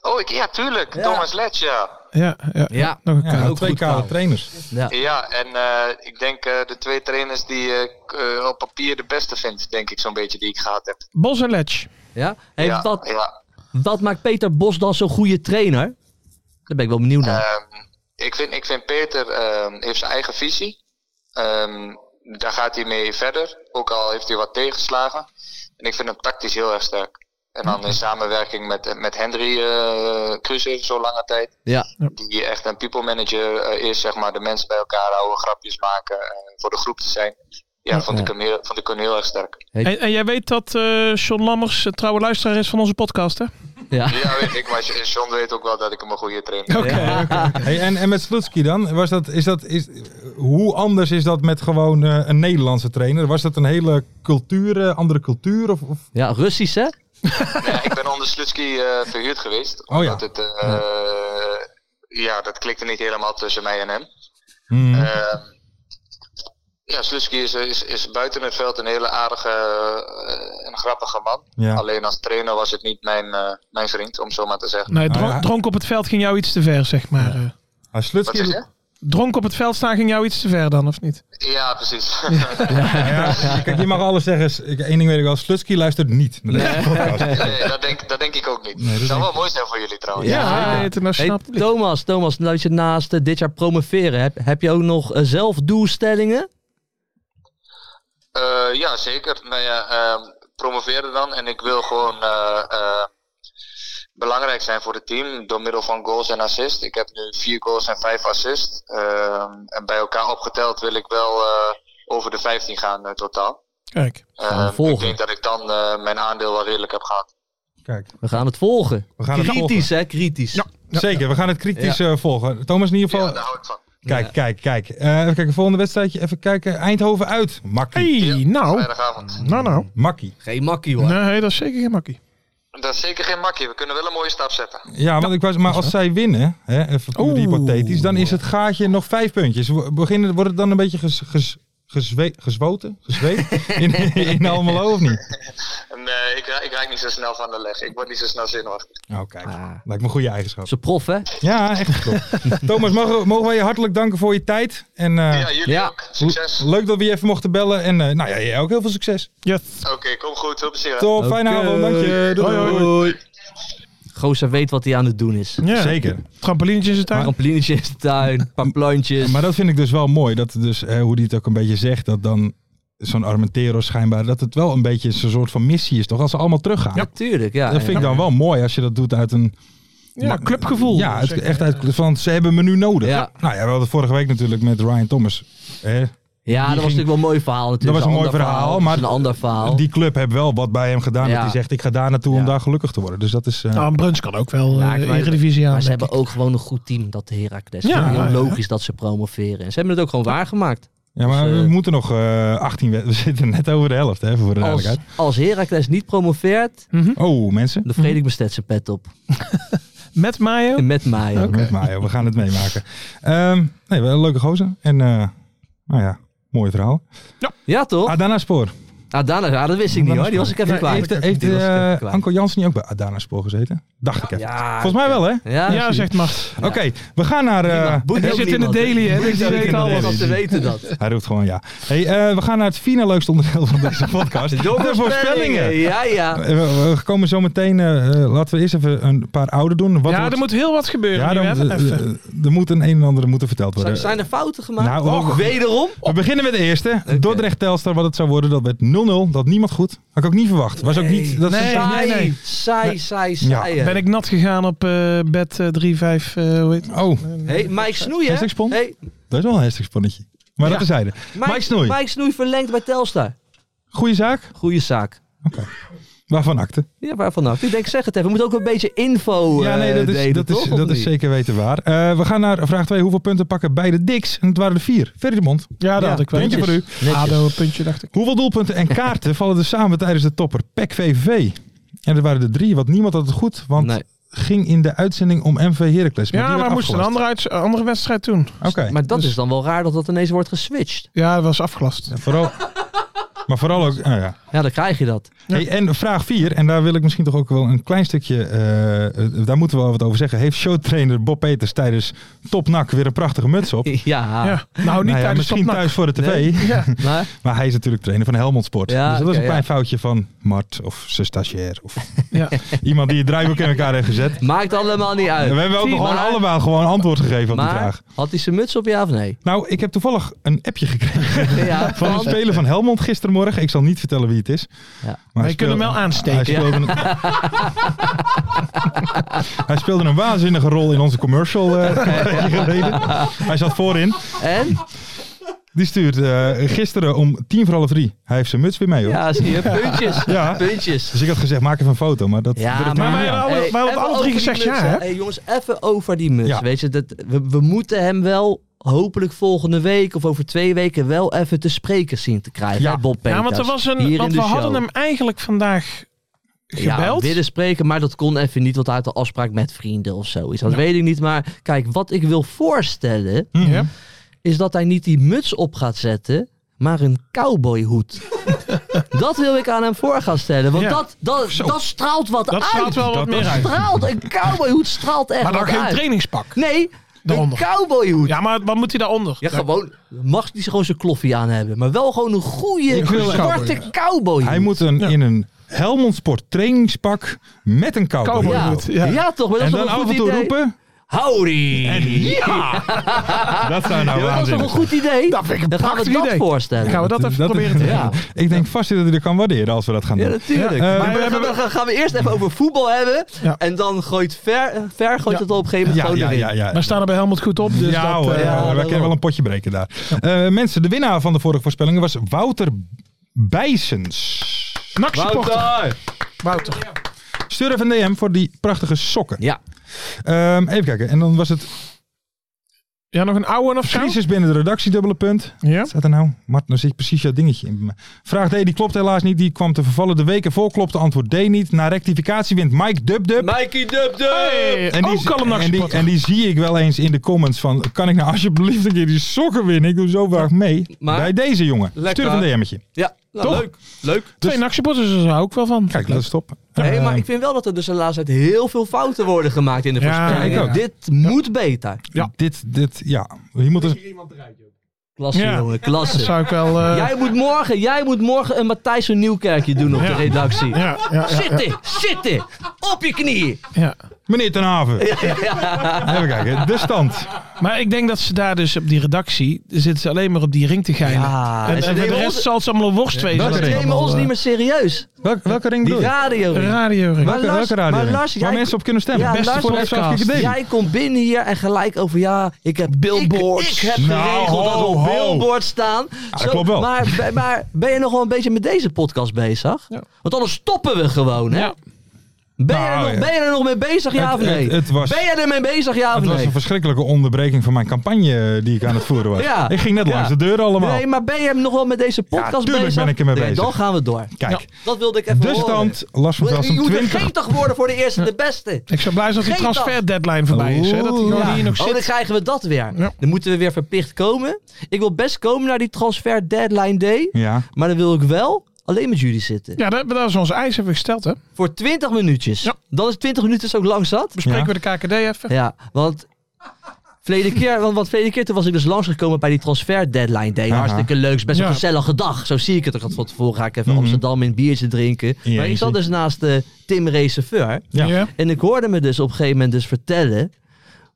G: oh, ik, ja, tuurlijk. Thomas Letch, ja.
C: Ja, ja.
B: Ja.
C: Nog een
D: Ja,
C: kale.
B: ook
D: twee
B: goed
D: kale
B: taal.
D: trainers.
B: Ja.
G: Ja, en eh, ik denk eh, de twee trainers die eh, k- eh, op papier de beste vindt, denk ik zo'n beetje die ik gehad heb.
C: Bos en Letch.
B: Ja? Hey,
G: ja,
B: wat,
G: ja.
B: wat maakt Peter Bos dan zo'n goede trainer? Daar ben ik wel benieuwd
D: Eh.
B: naar.
G: Ehm, ik, vind, ik vind Peter ehm, heeft zijn eigen visie. Ehm, daar gaat hij mee verder. Ook al heeft hij wat tegenslagen. En ik vind hem tactisch heel erg sterk. En dan in samenwerking met, met Henry eh Kruse zo lange tijd.
B: ja.
G: Die echt een people manager eh, is, zeg maar. De mensen bij elkaar houden, grapjes maken, eh, voor de groep te zijn. Ja, vond ik hem heel, vond ik hem heel erg sterk.
C: En, en jij weet dat eh John Lammers een trouwe luisteraar is van onze podcast, hè?
B: ja.
G: Ja, weet ik. Maar John weet ook wel dat ik hem een goede trainer vind.
D: Hey, en, en met Slutski dan, was dat, is dat, is, hoe anders is dat met gewoon eh, een Nederlandse trainer? Was dat een hele cultuur, eh, andere cultuur? Of, of?
B: ja, Russisch hè?
G: Ja, ik ben onder Slutski eh, verhuurd geweest.
D: Oh ja.
G: omdat het, eh, ja, dat klikte niet helemaal tussen mij en hem.
D: Hmm.
G: Eh, ja, Slutski is, is, is buiten het veld een hele aardige eh, en grappige man.
D: Ja.
G: Alleen als trainer was het niet mijn, eh, mijn vriend, om zo maar te zeggen.
C: Nee, dron-
D: Ah, ja.
C: dronk op het veld ging jou iets te ver, zeg maar. eh.
D: Maar
G: Wat
D: Slutski,
G: zeg je?
C: Dronk op het veld staan ging jou iets te ver dan, of niet?
G: Ja, precies.
D: Ja, kijk, je mag alles zeggen. S- ik- Eén ding weet ik wel, Slutski luistert niet naar deze podcast.
G: nee, dat, denk, dat denk ik ook niet.
D: dat
G: dat zou
D: denk
G: wel mooi zijn voor jullie trouwens.
B: Ja.
C: ja internationaal.
B: Hey, Thomas, Thomas, luister naast eh, dit jaar promoveren, heb, heb je ook nog eh, zelf doelstellingen?
G: Eh, ja, zeker. Nou ja, ehm, promoveren dan. En ik wil gewoon eh, eh, belangrijk zijn voor het team door middel van goals en assists. Ik heb nu vier goals en vijf assists. Ehm, en bij elkaar opgeteld wil ik wel eh, over de 15 gaan eh, totaal.
C: Kijk.
B: Gaan we
G: Ehm,
B: volgen.
G: ik denk dat ik dan eh, mijn aandeel wel redelijk heb gehad.
D: Kijk,
B: We gaan het volgen.
D: we gaan het volgen.
B: Kritisch, hè? Kritisch.
C: Ja.
D: Zeker, we gaan het kritisch eh, volgen. Thomas in ieder
G: Ja,
D: geval...
G: daar hou ik van.
D: Kijk,
B: Ja.
D: kijk, kijk. Eh, even kijken, volgende wedstrijdje. Even kijken. Eindhoven uit. Makkie.
C: Hey,
B: Oh.
C: nou.
G: Vrijdagavond.
C: Nou, nou.
D: Makkie.
B: Geen makkie, hoor.
C: Nee, dat is zeker geen makkie.
G: Dat is zeker geen makkie. We kunnen wel een mooie stap zetten.
D: Ja, want ik was, maar als zij winnen, hè, even puur
C: Oeh.
D: hypothetisch, dan is het gaatje nog vijf puntjes. We Beginnen, wordt het dan een beetje ges, ges, gezwe- gezwoten? Gezweet? in, in Almelo of niet?
G: Nee, eh, ik, ra- ik raak niet zo snel van de leg. Ik word niet zo snel zenuwachtig.
D: Nou, kijk.
B: Ah.
D: Lijkt me een goede eigenschap.
B: Ze prof, hè?
D: Ja, echt. top. Thomas, mogen, mogen wij je hartelijk danken voor je tijd. En eh,
G: ja, jullie
B: ja.
G: ook. Succes.
D: le- leuk dat we je even mochten bellen. En eh, nou ja, jij ook heel veel succes.
C: Yes.
G: Oké, kom goed. Veel plezier. hè.
D: Top, fijne avond. Dank je. Doei,
C: Hoi, hoi.
B: eh, Gozer weet wat hij aan het doen is.
C: Ja.
D: Zeker.
C: Trampolinetjes in de tuin.
B: Trampolinetje in de tuin, een paar plantjes.
D: Maar dat vind ik dus wel mooi. Dat dus, hè, hoe die het ook een beetje zegt, dat dan zo'n Armenteros schijnbaar, dat het wel een beetje zo'n soort van missie is, toch? Als ze allemaal teruggaan.
B: Natuurlijk, ja.
D: Dat vind ik dan wel mooi als je dat doet uit een...
C: Ja, clubgevoel.
D: Ja, het,
C: Zeg.
D: echt uit, van ze hebben me nu nodig.
B: Ja.
D: Nou ja, we hadden vorige week natuurlijk met Ryan Thomas. Hè,
B: Ja, dat
D: Die
B: was
D: ging-
B: natuurlijk wel een mooi verhaal natuurlijk.
D: Dat was een mooi
B: ander
D: verhaal,
B: dat is
D: maar-
B: Een ander verhaal.
D: Die club heeft wel wat bij hem gedaan.
B: Ja.
D: Dat hij zegt, ik ga daar naartoe om
B: Ja.
D: daar gelukkig te worden. Dus dat is... eh,
C: Nou, een brunch kan ook wel
B: Ja,
C: ja,
B: ik weet het.
C: Eredivisie aan.
B: Maar ze
C: denk
B: hebben ook gewoon een goed team, dat de Heracles.
C: Ja,
B: Ja,
C: ja,
B: heel
C: ja.
B: logisch dat ze promoveren. En ze hebben het ook gewoon waargemaakt.
D: ja, maar
B: dus,
D: we
B: eh,
D: moeten nog eh 18... wed- We zitten net over de helft, hè, even voor de
B: Als, Mhm.
D: duidelijkheid.
B: als Heracles niet promoveert,
D: Oh, mensen.
B: dan vrede ik mijn Stetson pet op.
C: ik. Met Mayo.
B: En met mij. ook.
D: Met Mayo, we gaan het meemaken. Ehm, nee, wel een leuke gozer. En, eh, nou ja, mooi verhaal.
B: Ja, toch?
D: Adana Spoor.
B: Adana, ja, dat wist Oh. ik niet hoor. Die was ik even kwijt.
D: Heeft, heeft
B: Die was ik even
D: eh,
B: kwijt.
D: Anko Jansen niet ook bij Adana Spoor gezeten? Dacht ik even.
B: Ja,
D: Volgens mij wel, hè?
B: Ja,
C: Ja,
B: precies.
C: zegt Mart.
D: Oké, we gaan naar... eh,
B: Prima. Boeit
C: Hij
B: ook
C: zit in de
B: niemand, hè?
C: daily, hè? Dus die
D: ook in
C: weet
D: de daily.
C: alles.
B: Want ze weten dat.
D: hij roept gewoon ja. Hey, eh, we gaan naar het vierde leukste onderdeel van deze podcast. de voorspellingen.
B: Ja, ja.
D: Eh, We, we komen zo meteen... eh, eh, laten we eerst even een paar oude doen. Wat
C: Ja,
D: wordt-
C: er moet heel wat gebeuren.
D: ja,
C: nu, hè?
D: dan, eh,
C: Even.
D: eh, er moet een een en ander moeten verteld worden.
B: Zijn er fouten gemaakt?
D: Nou, ook-
B: wederom?
D: We beginnen met de eerste. Dordrecht Telstar, wat het zou worden, dat werd 0-0. Dat niemand goed. Had ik ook niet verwacht. Was ook niet. Dat
C: Nee.
D: ze-
B: Saai,
C: nee.
B: saai, saai, saai.
D: Ja.
B: hè.
C: Ben ik nat gegaan op eh bed eh, 3-5, eh, hoe heet het?
D: Oh,
B: Hey, Mike Snoei, hè?
D: Hashtag spon?
B: Hey,
D: dat is wel een heftig spannetje. Maar dat terzijde. Mike, Mike Snoei,
B: Mike Snoei verlengt bij Telstar.
D: goede zaak.
B: Goeie zaak.
D: Waarvan akte?
B: Ja, waarvan ook. Ik denk, zeg het even. We moeten ook een beetje info eh,
D: ja, nee, dat is, dat is, dat is zeker weten waar. Eh, we gaan naar vraag 2. Hoeveel punten pakken beide Dicks? En het waren er vier. Verder de mond.
C: Ja, dat
B: Ja,
C: had ik wel.
D: puntje voor u.
B: Netjes.
C: ADO, een puntje, dacht ik.
D: Hoeveel doelpunten en kaarten vallen er samen tijdens de topper E PEC VV? En er waren er drie, want niemand had het goed. Want
B: Nee.
D: ging in de uitzending om MV Heracles.
C: Ja,
D: die
C: maar
D: werd
C: moest een
D: afgelast.
C: andere, uits- andere wedstrijd doen.
D: Oké.
B: Maar dat
C: Dus-
B: is dan wel raar dat dat ineens wordt geswitcht.
C: Ja, dat was afgelast.
D: Ja, vooral, maar vooral ook. nou ja.
B: Ja, dan krijg je dat.
D: hey, en vraag 4, en daar wil ik misschien toch ook wel een klein stukje. eh, eh, daar moeten we wel wat over zeggen. Heeft showtrainer Bob Peters tijdens Topnak weer een prachtige muts
B: oh,
D: op?
B: Ja.
C: Ja. Nou, niet
D: Nou ja,
C: tijdens
D: misschien
C: Topnak.
D: thuis voor de tv.
B: Nee.
C: Ja.
B: Maar,
D: Maar hij is natuurlijk trainer van Helmond Sport.
B: Ja,
D: dus dat was
B: oké,
D: een klein
B: ja.
D: foutje van Mart of zijn stagiair. Of
C: Ja.
D: iemand die het draaiboek in elkaar heeft gezet.
B: maakt allemaal niet uit.
D: En we hebben ook
B: Zie,
D: gewoon
B: maar-
D: allemaal gewoon antwoord gegeven op die
B: Maar,
D: vraag.
B: had hij zijn muts op, ja of nee?
D: Nou, ik heb toevallig een appje gekregen
B: Ja,
D: van een
B: want-
D: speler van Helmond gistermorgen. Ik zal niet vertellen wie het is.
B: Ja.
D: Maar
C: Maar je kunt hem wel aansteken.
D: Hij speelde, een, hij speelde een waanzinnige rol in onze commercial. eh, geleden. hij zat voorin.
B: En?
D: Die stuurt eh, gisteren om tien voor half drie. Hij heeft zijn muts weer mee hoor.
B: Ja, zie je. Puntjes.
D: Ja.
B: Puntjes.
D: Dus ik had gezegd, maak even een foto. Maar dat durft
B: Ja,
D: hij
C: maar-
D: niet aan.
C: wij hadden- wij hadden
B: even
C: alle drie
B: over die
C: gezegd
B: muts,
C: ja, hè?
B: Hey, jongens, even over die muts.
D: Ja.
B: Weet je, dat, we, we moeten hem wel hopelijk volgende week of over twee weken wel even te spreken zien te krijgen.
D: Ja.
B: hè, Bob Peters,
C: Ja, want er was
B: hier
C: een.
B: in
C: Want
B: de
C: we
B: show.
C: hadden hem eigenlijk vandaag
B: Ja,
C: gebeld.
B: willen spreken, maar dat kon even niet, want hij had een afspraak met vrienden of zoiets. Dat weet ik niet, maar kijk, wat ik wil voorstellen
C: Ja.
B: is dat hij niet die muts op gaat zetten, maar een cowboyhoed. dat wil ik aan hem voor gaan stellen, want
C: Ja.
B: dat, dat, dat straalt wat
C: Dat
B: uit.
C: straalt wel wat
D: Dat
C: meer
D: is-
C: uit.
B: straalt, een cowboyhoed straalt echt
C: Maar dan
B: wat
C: geen
B: uit.
C: trainingspak.
B: Nee,
C: Daaronder.
B: een cowboyhoed. Ja,
C: Ja, maar wat moet hij daaronder?
B: gewoon, mag die gewoon zijn kloffie aan hebben, maar wel gewoon een goede,
D: Ik wil een
B: zwarte cowboyhoed.
D: Hij moet een, in een Helmond Sport trainingspak met een cowboy.
C: Cowboy.
B: ja.
C: Cowboyhoed, ja.
B: Ja, toch, maar dat
D: En
B: is wel
D: dan
B: een
D: af
B: goed
D: en toe
B: idee.
D: roepen,
B: Howdy!
C: Ja,
D: Dat
B: Ja,
D: zou nou
B: dat was toch
D: waanzinnig
B: een goed idee?
C: dat vind ik een
B: Dan gaan we
C: prachtig
B: dat
C: idee.
B: voorstellen.
C: Dan gaan we dat even proberen te
B: ja.
D: Ik denk vast dat hij dat kan waarderen als we dat gaan
B: Ja,
D: doen.
B: natuurlijk.
D: Ja,
B: maar
D: eh, maar
B: we
C: we
B: gaan, we gaan- gaan we eerst even over voetbal hebben.
C: Ja.
B: En dan gooit Ver, eh, ver gooit
C: Ja.
B: het op een gegeven moment
D: Ja,
B: gewoon
D: ja,
B: erin.
D: ja, ja.
C: Maar staan er bij Helmut goed op. Dus
D: ja,
C: dat,
D: hoor,
C: eh,
D: ja,
B: ja,
D: we
B: dat
D: kennen
B: wel.
D: wel een potje breken daar. Eh, mensen, de winnaar van de vorige voorspellingen was Wouter Bijsens.
C: NAC supporter.
B: Wouter!
C: Wouter.
D: Stuur even een DM voor die prachtige sokken.
B: Ja.
D: Ehm, even kijken. En dan was het
C: Ja, nog een oude of zo?
D: crisis binnen de redactie, dubbele punt.
C: Ja.
D: Wat staat er nou? Mart, nou zit precies jouw dingetje in. bij mij. Vraag D, die klopt helaas niet. Die kwam te vervallen. De weken voor klopte antwoord D niet. Na rectificatie wint Mike Dub Dub.
B: Mikey Dub Dub!
C: Hey,
D: En die,
C: ook al een NAC
D: en, die,
C: supporter.
D: en die zie ik wel eens in de comments van... Kan ik nou alsjeblieft een keer die sokken winnen? Ik doe zo graag mee.
B: Maar-
D: bij deze jongen.
B: Lekker.
D: Stuur even een DM'tje.
B: Ja, nou,
C: Toch?
B: leuk. Leuk.
C: Twee NAC supporters, daar hou ik wel van.
D: Dus- Kijk, dat is top.
B: Nee,
D: Eh,
B: maar ik vind wel dat er dus de laatste tijd heel veel fouten worden gemaakt in de
C: Ehm. Ja,
B: voorspellingen.
D: ik ook.
B: Dit moet beter.
C: Ja.
D: Dit, dit, ja. Hier moet een-
B: Klasse,
C: Ja.
B: jongen,
C: Dat
B: klasse.
C: zou ik wel... eh,
B: Jij moet morgen, jij moet morgen een Matthijs van Nieuwkerkje doen op de
C: Ja.
B: redactie.
C: ja, ja, ja,
B: Zitten, zitten, op je knieën.
C: ja.
D: Meneer Ten Haven. Even kijken. De stand.
C: Maar ik denk dat ze daar dus op die redactie... zitten ze alleen maar op die ring te geilen.
B: Ja,
C: en
B: en ze
C: en voor de
B: nemen
C: rest
B: ons-
C: zal het allemaal een worst wezen.
D: dat
C: wat
B: Ze
C: er
D: is
B: nemen
C: allemaal,
B: ons
C: eh,
B: niet meer serieus.
D: Welke, welke ring
B: Die
D: bedoel je?
B: radio.
C: Radio ring.
B: Maar
D: Welke,
B: Lars-
D: welke radio?
B: maar Lars,
D: Waar
B: jij-
D: mensen op kunnen stemmen.
B: Ja,
D: Beste
B: Lars
D: voor FC Afkikken Daily.
B: Jij komt binnen hier en gelijk over ja, ik heb
C: Billboards.
B: Ik, ik heb
D: Nou,
B: geregeld dat we op
D: ho, ho.
B: billboards staan. Zo,
D: klopt wel.
B: Maar, maar- maar ben je nog wel een beetje met deze podcast bezig?
C: Ja.
B: Want anders stoppen we gewoon, hè?
C: Ja.
B: Ben, je er
D: Nou,
B: nog,
D: ja.
B: ben je er nog mee bezig, ja
D: Het-
B: of nee?
D: het- het was-
B: ben je er mee bezig, ja of
D: Het was
B: nee?
D: een verschrikkelijke onderbreking van mijn campagne eh, die ik aan het voeren was.
B: Ja.
D: Ik ging net
B: Ja.
D: langs de deur allemaal.
B: Nee, maar ben je nog wel met deze podcast
D: tuurlijk
B: bezig?
D: ben ik ermee
B: Nee,
D: bezig.
B: Dan gaan we door.
D: Kijk,
B: Dat wilde ik even
D: de
B: horen.
D: stand Lars van
B: Je
D: Velsen
B: moet er
D: 20.
B: 20 worden voor de eerste, de beste.
C: Ik zou blij zijn als die
B: Geen dag.
C: transfer deadline voorbij is. Hè? Dat die
D: Oeh.
C: gewoon
D: Ja.
C: hier nog
B: Oh,
C: zit.
B: dan krijgen we dat weer.
C: Ja.
B: Dan moeten we weer verplicht komen. Ik wil best komen naar die transfer deadline day.
D: Ja,
B: Maar dan wil ik wel alleen met jullie zitten.
C: Ja, dat, dat is ons eis hebben we gesteld. Hè?
B: Voor 20 minuutjes.
C: Ja.
B: Dan is 20 minuten zo lang zat.
C: Bespreken
D: Ja.
C: we de KKD even.
B: Ja, want... Verleden keer, want, want verleden keer toen was ik dus langsgekomen bij die transfer deadline day.
D: Aha.
B: Hartstikke leuk, is best een
C: Ja. Mhm.
B: gezellige dag. Zo zie ik het ook van tevoren. Ga ik even Amsterdam in een biertje drinken. Maar ik
D: Jeetje.
B: zat dus naast de Tim Receveur.
D: ja.
C: Ja.
B: En ik hoorde me dus op een gegeven moment dus vertellen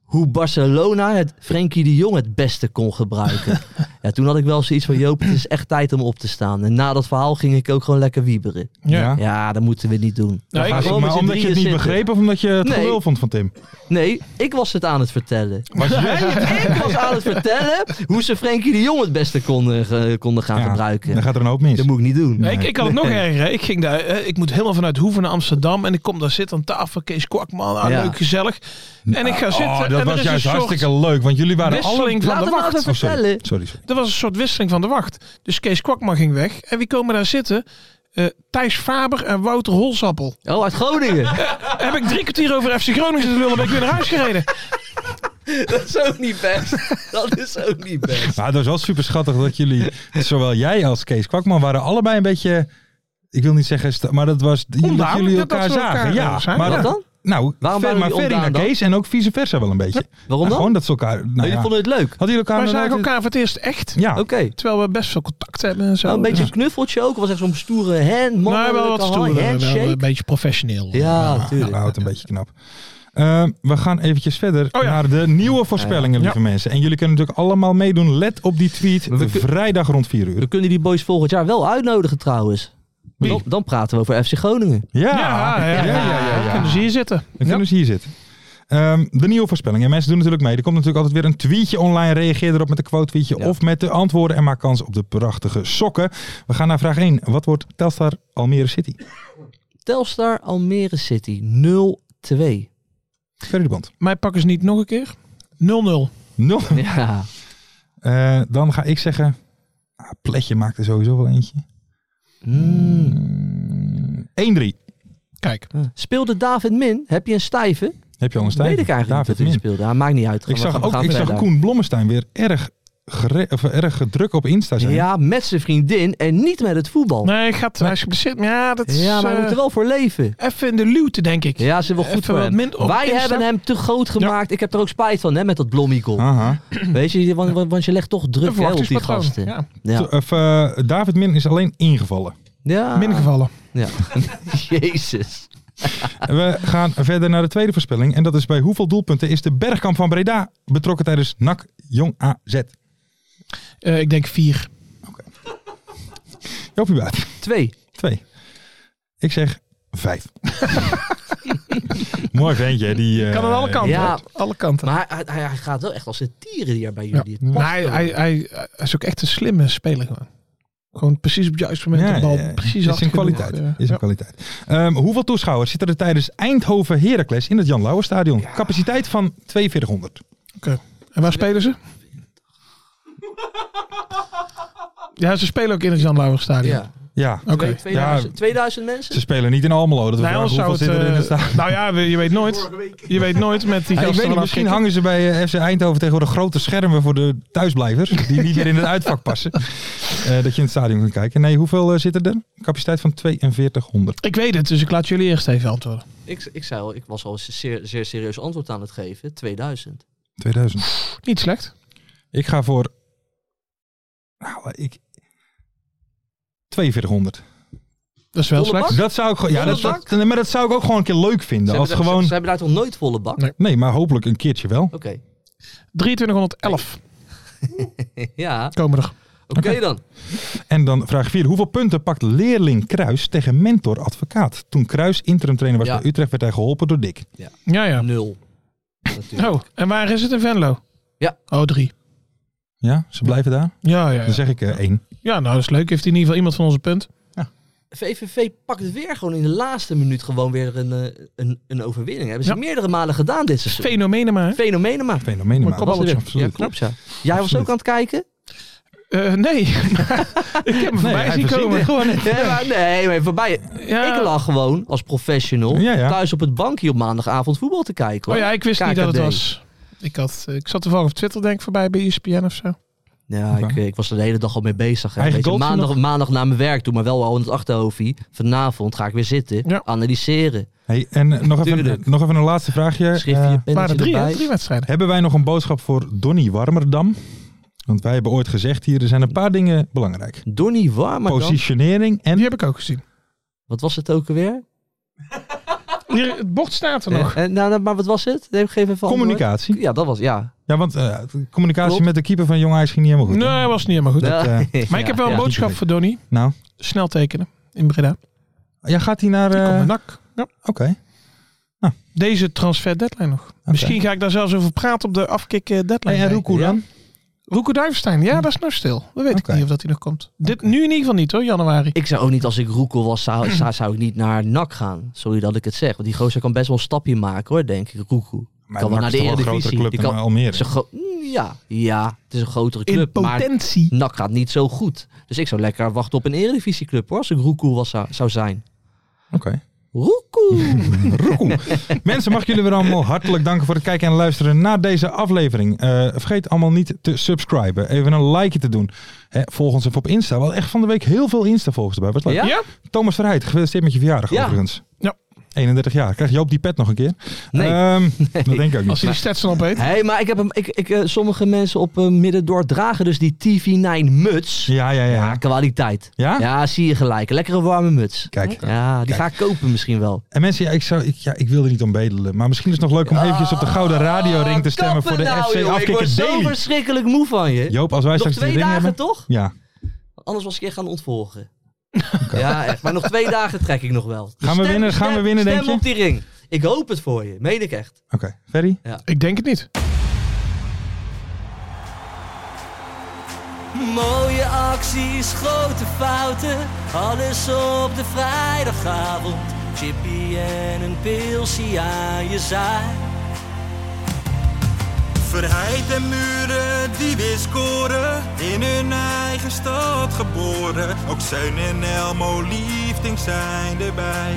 B: hoe Barcelona het Frenkie de Jong het beste kon gebruiken. ja, toen had ik wel zoiets van, Joop, het is echt tijd om op te staan. En na dat verhaal ging ik ook gewoon lekker wieberen.
D: ja.
C: Ja.
B: Ja, dat moeten we niet doen.
C: Nou,
B: Ga
C: ik-
B: gewoon met
D: Maar
B: z'n
D: omdat je het niet
B: drieën zitten.
D: begreep of omdat je het
B: Nee.
D: gelul vond van Tim?
B: Nee, ik was het aan het vertellen.
D: Was jij
B: ik was aan het vertellen hoe ze Frenkie de Jong het beste konden, ge- konden gaan
D: Ja, Dan
B: gebruiken.
D: gaat er een hoop mis.
B: Dat moet ik niet doen.
C: Nee, ik, ik had het nog erger. hè. Ik, ging daar, eh, ik moet helemaal vanuit Hoeven naar Amsterdam. En ik kom daar zitten aan tafel. Kees Kwakman, ah,
B: Ja.
C: leuk, gezellig. En ik ga zitten.
D: Oh,
C: en
D: dat
C: er
D: was
C: is een
D: juist
C: soort,
D: hartstikke leuk, want jullie waren alle...
C: wisseling van
B: Laat
C: de
B: het nou
C: wacht.
B: even
D: Oh, sorry.
B: vertellen.
D: sorry, sorry.
C: Er was een soort wisseling van de wacht. Dus Kees Kwakman ging weg. En wie komen daar zitten? Eh, Thijs Faber en Wouter Holsappel.
B: Oh, uit Groningen.
C: Heb ik drie kwartier over FC Groningen zitten lullen, ben ik weer naar huis gereden.
B: dat is ook niet best. Dat is ook niet best.
D: Maar het Nou, was wel super schattig dat jullie, zowel jij als Kees Kwakman, waren allebei een beetje... Ik wil niet zeggen, sta- maar dat was dat
C: Onduidelijk
D: jullie
C: dat
D: elkaar
C: ze elkaar,
D: zagen.
C: eh,
D: Ja,
C: zijn.
D: maar
B: Wat dan?
D: Nou,
B: Waarom
D: ver,
B: waren
D: maar
B: jullie
D: Ferry naar
B: ontdaan dan?
D: Kees en ook vice versa wel een beetje.
B: Waarom
D: Ja,
B: dan?
D: gewoon dat ze elkaar... Nou
B: Jullie
D: ja.
B: vonden het leuk?
D: Hadden jullie elkaar...
C: Wij zagen
D: nooit-
C: elkaar voor het eerst echt.
D: Ja,
B: Oké.
C: Terwijl we best veel contact hebben en zo.
B: Nou, een beetje
C: Dus-
B: een knuffeltje ook. was echt zo'n stoere hand, man.
C: nou, wel wat stoerder. Wel
B: handshake.
C: een beetje professioneel.
B: ja,
D: nou,
B: natuurlijk.
D: houdt een beetje knap. Ehm, we gaan eventjes verder
C: Oh ja.
D: naar de nieuwe voorspellingen, lieve mensen. En jullie kunnen natuurlijk allemaal meedoen. Let op die tweet,
B: We kun-
D: vrijdag rond 4 uur.
B: We kunnen die boys volgend jaar wel uitnodigen trouwens.
D: Wie?
B: Dan, dan praten we over FC Groningen.
D: Ja,
C: Ja, ja, ja. Kunnen ze hier zitten.
D: Dan kunnen ze hier zitten. Ehm, de nieuwe voorspellingen. Mensen doen natuurlijk mee. Er komt natuurlijk altijd weer een tweetje online. Reageer erop met een quote tweetje
B: Ja.
D: of met de antwoorden. En maak kans op de prachtige sokken. We gaan naar vraag 1. Wat wordt Telstar Almere City?
B: Telstar Almere City 0-2.
D: Ferry de Bond.
C: Mij pakken ze niet nog een keer. 0-0.
D: Nul.
B: Ja.
D: Eh, dan ga ik zeggen... Ah, Pletje maakt er sowieso wel eentje.
B: Hmm.
D: Mm, 1-3.
C: Kijk.
B: Speelde David Min? Heb je een stijve?
D: Heb je al een stijl?
B: Weet ik eigenlijk niet
D: David
B: dat hij
D: Min.
B: speelde. Ah, maakt niet uit.
D: Ik
B: Gaan we-
D: zag,
B: we gaan
D: ook, ik zag
B: verder.
D: Koen Blommestein weer erg, gere- of erg druk op Insta zijn.
B: Ja, met zijn vriendin en niet met het voetbal.
C: Nee, gaat, hij is geblesseerd. Maar ja, dat is
B: ja, maar we
C: eh,
B: moeten wel voor leven.
C: even in de luwte, denk ik.
B: Ja, ze wel goed
C: Even
B: voor
C: wat
B: hem.
C: min op
B: Wij
C: Insta.
B: hebben hem te groot gemaakt. Ik heb er ook spijt van, hè, met dat blommie goal.
D: Aha.
B: Weet je, want, want- want je legt toch
C: Hm. Een
B: druk hè, op die
C: verwachtingspatroon.
B: gasten.
C: Ja.
B: Ja.
D: Of, eh, David Min is alleen ingevallen.
B: ja.
C: Mingevallen.
B: Ja. Jezus.
D: We gaan verder naar de tweede voorspelling. En dat is bij hoeveel doelpunten is de Bergkamp van Breda betrokken tijdens NAC Jong AZ?
C: Eh, ik denk vier.
D: Jopie Buit.
B: Twee.
D: Twee. Ik zeg vijf. Mooi ventje. hè, Die, eh,
C: Kan aan alle kanten.
B: ja.
C: hè? Alle kanten.
B: Maar hij, hij, hij gaat wel echt als een tieren hier bij
C: Ja.
B: jullie. Het past
C: Maar hij,
B: wel.
C: hij, hij, hij is ook echt een slimme speler gewoon. Gewoon precies op het juiste moment
D: Ja,
C: de bal.
D: ja, ja.
C: Precies
D: is
C: hard
D: een
C: genoeg,
D: kwaliteit.
C: eh,
D: Is een
C: ja.
D: kwaliteit. Ehm, hoeveel toeschouwers zitten er tijdens Eindhoven Heracles in het Jan Lauwerstadion? Capaciteit van 4200.
C: En waar spelen ze? Ja, ze spelen ook in het Jan Lauwerstadion.
B: Ja.
D: Ja,
C: Oké.
B: Twee- 2000, 2000
D: ze
B: mensen?
D: spelen niet in Almelo. Dat we
C: Bij
D: vragen
C: Nou, ons zou
D: hoeveel
C: het...
D: zitten er in het
C: eh,
D: stadion.
C: nou ja, we- je weet nooit. Je weet nooit met die
D: Ja,
C: gasten
D: ik weet niet,
C: vanaf
D: misschien
C: Kikker.
D: hangen ze bij eh, FC Eindhoven tegenwoordig grote schermen voor de thuisblijvers. Die niet meer in het uitvak passen. Eh, dat je in het stadion kunt kijken. Nee, hoeveel eh, zitten er? Capaciteit van 4200.
C: Ik weet het, dus ik laat jullie eerst even antwoorden.
B: Ik, ik, zei al, ik was al een zeer, zeer serieus antwoord aan het geven. 2000.
D: 2000.
C: Niet slecht.
D: Ik ga voor... Nou, ik... 4200.
C: Dat is wel
B: Volle
C: slecht.
B: bak?
D: Dat zou ik gewoon... Ja, dat,
B: Volle
D: dat- nee, maar dat zou ik ook gewoon een keer leuk
B: Ze
D: vinden.
B: hebben,
D: Als
B: daar- ze,
D: gewoon...
B: ze hebben daar toch nooit volle bak?
C: Nee.
D: Nee, maar hopelijk een keertje wel.
B: Oké.
C: 2311
B: ja,
C: komen er.
B: oké dan.
D: En dan vraag 4. Hoeveel punten pakt leerling Kruis tegen mentor advocaat? Toen Kruis interimtrainer was
B: Ja.
D: bij Utrecht werd hij geholpen door Dick.
C: Ja, ja.
B: Nul. Natuurlijk.
C: Oh, en waar is het in Venlo?
B: Ja.
C: Oh, drie.
D: Ja, ze blijven daar.
C: Ja, ja,
D: Dan
C: ja.
D: zeg ik eh, één.
C: Ja, nou, dat is leuk. Heeft hij in ieder geval iemand van onze punt.
B: VVV pakt weer gewoon in de laatste minuut gewoon weer een, eh, een, een overwinning. Hebben ze
C: Ja.
B: meerdere malen gedaan dit seizoen.
C: Fenomenen maar. hè?
B: Fenomenen maar.
D: Fenomeen.
C: Maar
D: Maar
C: kom op,
D: absoluut,
C: Jim.
B: Ja,
D: absoluut.
B: klopt ja. Jij was ook aan het kijken?
C: Eh, nee. ik heb hem voorbij
D: hij
C: zien
D: verzint
C: komen.
D: het
C: Gewoon
B: Nee, maar, nee, maar voorbij.
C: Ja.
B: Ik lag gewoon als professional
D: Ja, ja.
B: thuis op het bankje op maandagavond voetbal te kijken.
C: Oh
B: hoor.
C: ja, ik wist niet dat het
B: KKD.
C: was. Ik, had, eh, ik zat toevallig op Twitter denk ik voorbij bij E ESPN of zo.
B: Ja, ik,
D: Oké.
B: ik was er de hele dag al mee bezig. Hè.
D: Eigen
B: Weet je,
D: goals
B: maandag,
D: nog?
B: maandag na mijn werk, doe maar wel al in het achterhoofdje. Vanavond ga ik weer zitten,
C: Ja.
B: analyseren.
D: Hey, en eh, nog even,
B: Tuurlijk.
D: nog even een laatste vraagje.
B: Schriftje,
D: Eh,
B: pennetje
C: Maar er drie, hè?
B: erbij.
C: drie wedstrijden.
D: hebben wij nog een boodschap voor Donny Warmerdam? Want wij hebben ooit gezegd hier, er zijn een paar dingen belangrijk.
B: Donnie Warmerdam.
D: Positionering en...
C: Die heb ik ook gezien.
B: Wat was het ook alweer?
C: Hier, het bord staat er nog.
B: Eh, eh, nou, nou, maar wat was het? Nee, Geef even antwoord.
D: Communicatie.
B: Ja, dat was, ja.
D: Ja, want eh, communicatie
B: Klopt.
D: met de keeper van Jong Ajax ging niet helemaal goed. hè?
C: Nee, was niet helemaal goed.
D: Dat, eh,
B: Ja.
C: Maar ik heb wel
B: Ja.
C: een boodschap voor Donny.
D: Nou,
C: Snel tekenen in Breda.
D: ja, gaat hij naar...
C: Die
D: eh,
C: komt met
D: Oké.
C: NAC. Ja. Deze transfer deadline nog. Misschien ga ik daar zelfs over praten op de afkikken deadline.
D: Hey, en
C: day.
D: Roekoe dan?
C: Roeco Duivenstein, ja, dat is nog stil. Dat weet
D: Oké.
C: ik niet of dat hij nog komt. Dit nu in ieder geval niet hoor, januari.
B: Ik zou ook niet, als ik Roekel was, zou, zou, zou ik niet naar NAC gaan. Sorry dat ik het zeg. Want die gozer kan best wel een stapje maken hoor, denk ik. Roekel.
D: Maar
B: Kan wel
D: NAC
B: naar de
D: is toch wel een grotere
B: Eredivisie.
D: club
B: Die
D: dan
B: kan-
D: Almere.
B: Is een gro- ja, ja, het is een grotere
C: In
B: club. Maar
C: potentie.
B: NAC gaat niet zo goed. Dus ik zou lekker wachten op een eredivisieclub hoor, als ik Roekoe was, zou, zou zijn.
D: Oké.
B: Roekoe!
D: Roekoe. Mensen, mag ik jullie weer allemaal hartelijk danken voor het kijken en luisteren naar deze aflevering. Eh, vergeet allemaal niet te subscriben. Even een likeje te doen. Hè, volg ons even op Insta. Wel echt van de week heel veel Insta-volgers erbij. Wat leuk.
B: Ja?
C: Ja?
D: Thomas Verheid, gefeliciteerd met je verjaardag
B: Ja.
D: overigens.
C: Ja.
D: 31 jaar. Krijg Joop die pet nog een keer?
B: Nee.
D: Ehm, Dat denk ik ook niet.
C: Als hij de stats dan opeet.
B: Hé, hey, maar ik heb hem, ik, ik, eh, sommige mensen op eh, Middendorp dragen dus die TV9 muts.
D: Ja, ja, ja.
B: Ja, kwaliteit.
D: Ja?
B: Ja, zie je gelijk. Een lekkere warme muts.
D: Kijk.
B: Ja, die
D: Kijk.
B: ga ik kopen misschien wel.
D: En mensen, ja, ik, zou, ik, ja, ik wil er niet om bedelen. Maar misschien is het nog
B: Oh,
D: leuk om eventjes op de Gouden Radio Ring te stemmen voor de
B: Ah, Kappen nou,
D: FC
B: joh. Ik word
D: Afkikker
B: zo
D: Daily.
B: verschrikkelijk moe van je.
D: Joop, als wij
B: nog
D: straks die
B: twee
D: ring
B: dagen
D: hebben.
B: toch?
D: Ja.
B: Anders was ik je gaan ontvolgen. Ja, echt. Maar nog twee dagen trek ik nog wel. Dus
D: Gaan we winnen? Gaan we
B: stem-
D: winnen,
B: stem
D: denk je?
B: op die ring. Ik hoop het voor je. Meen ik echt.
D: Oké, Ferry?
C: Ik denk het niet.
E: Mooie acties, grote fouten, alles op de vrijdagavond. Chippy en een pilsie aan je zaai. Verheid en muren die weer scoren, in hun eigen stad geboren. Ook Zijn en Elmo liefding zijn erbij.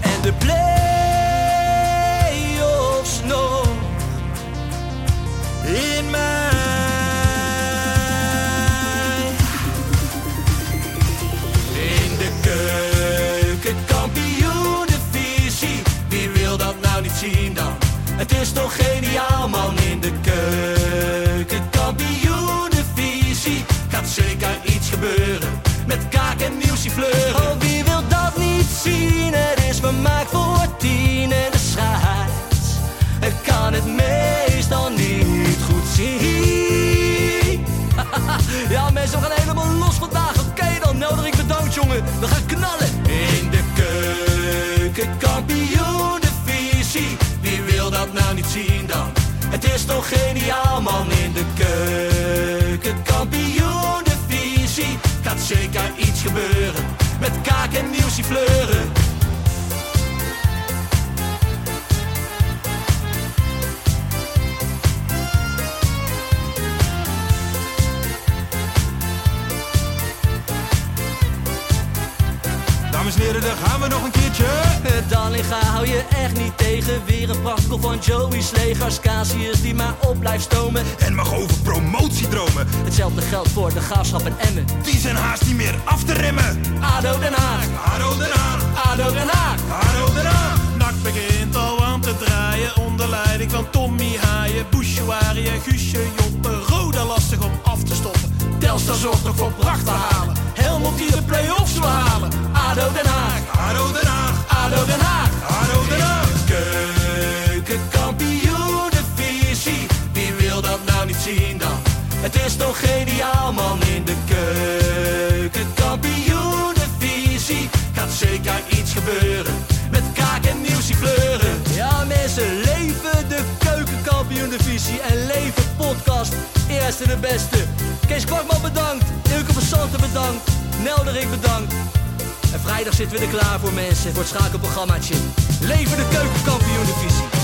E: En de play-offs nog in mij. In de keuken, kampioen Wie wil dat nou niet zien dan? Het is toch geniaal man in de keuken, kampioen Gaat zeker iets gebeuren met kaak en nieuwsje fleuren. Oh, wie wil dat niet zien? hè?
B: jongen, we gaan knallen. In de keuken, Wie wil dat nou niet zien dan? Het is toch geniaal man in de keuken, Gaat zeker iets gebeuren, met kaak en nieuwsie fleuren.
D: Dames en heren, daar gaan we nog een keertje.
B: Eh, Dallinga hou je echt niet tegen. Weer een prachtkel van Joey's legers. Casius die maar op blijft stomen.
D: En mag over promotiedromen.
B: Hetzelfde geldt voor de graafschap en Emmen.
D: Die zijn haast niet meer af te remmen.
B: ADO Den Haag,
D: Haro eraan,
B: ADO Den Haag.
D: haro eraan.
E: Nak begint al aan te draaien onder leiding van Tommy Haaien, Bouchouari en Guusje Joppen. Roda lastig om af te stoppen.
B: Telstar zorgt nog voor pracht te halen. Helmond die de play-offs wil halen. ADO Den Haag,
D: Haro eraan,
B: ADO Den Haag.
D: haro eraan.
B: Keukenkampioenenvisie, wie wil dat nou niet zien dan? Het is toch geniaal man in de keukenkampioenenvisie. Gaat zeker iets gebeuren, met kaak en nieuwsie kleuren. Ja mensen, leven de keukenkampioenenvisie en leven podcast. Eerste de beste. Kees Kwakman bedankt, Ilke van Santen bedankt, Nelderik bedankt. En vrijdag zitten we er klaar voor mensen, voor het schakelprogrammaatje. Leven de keukenkampioen divisie.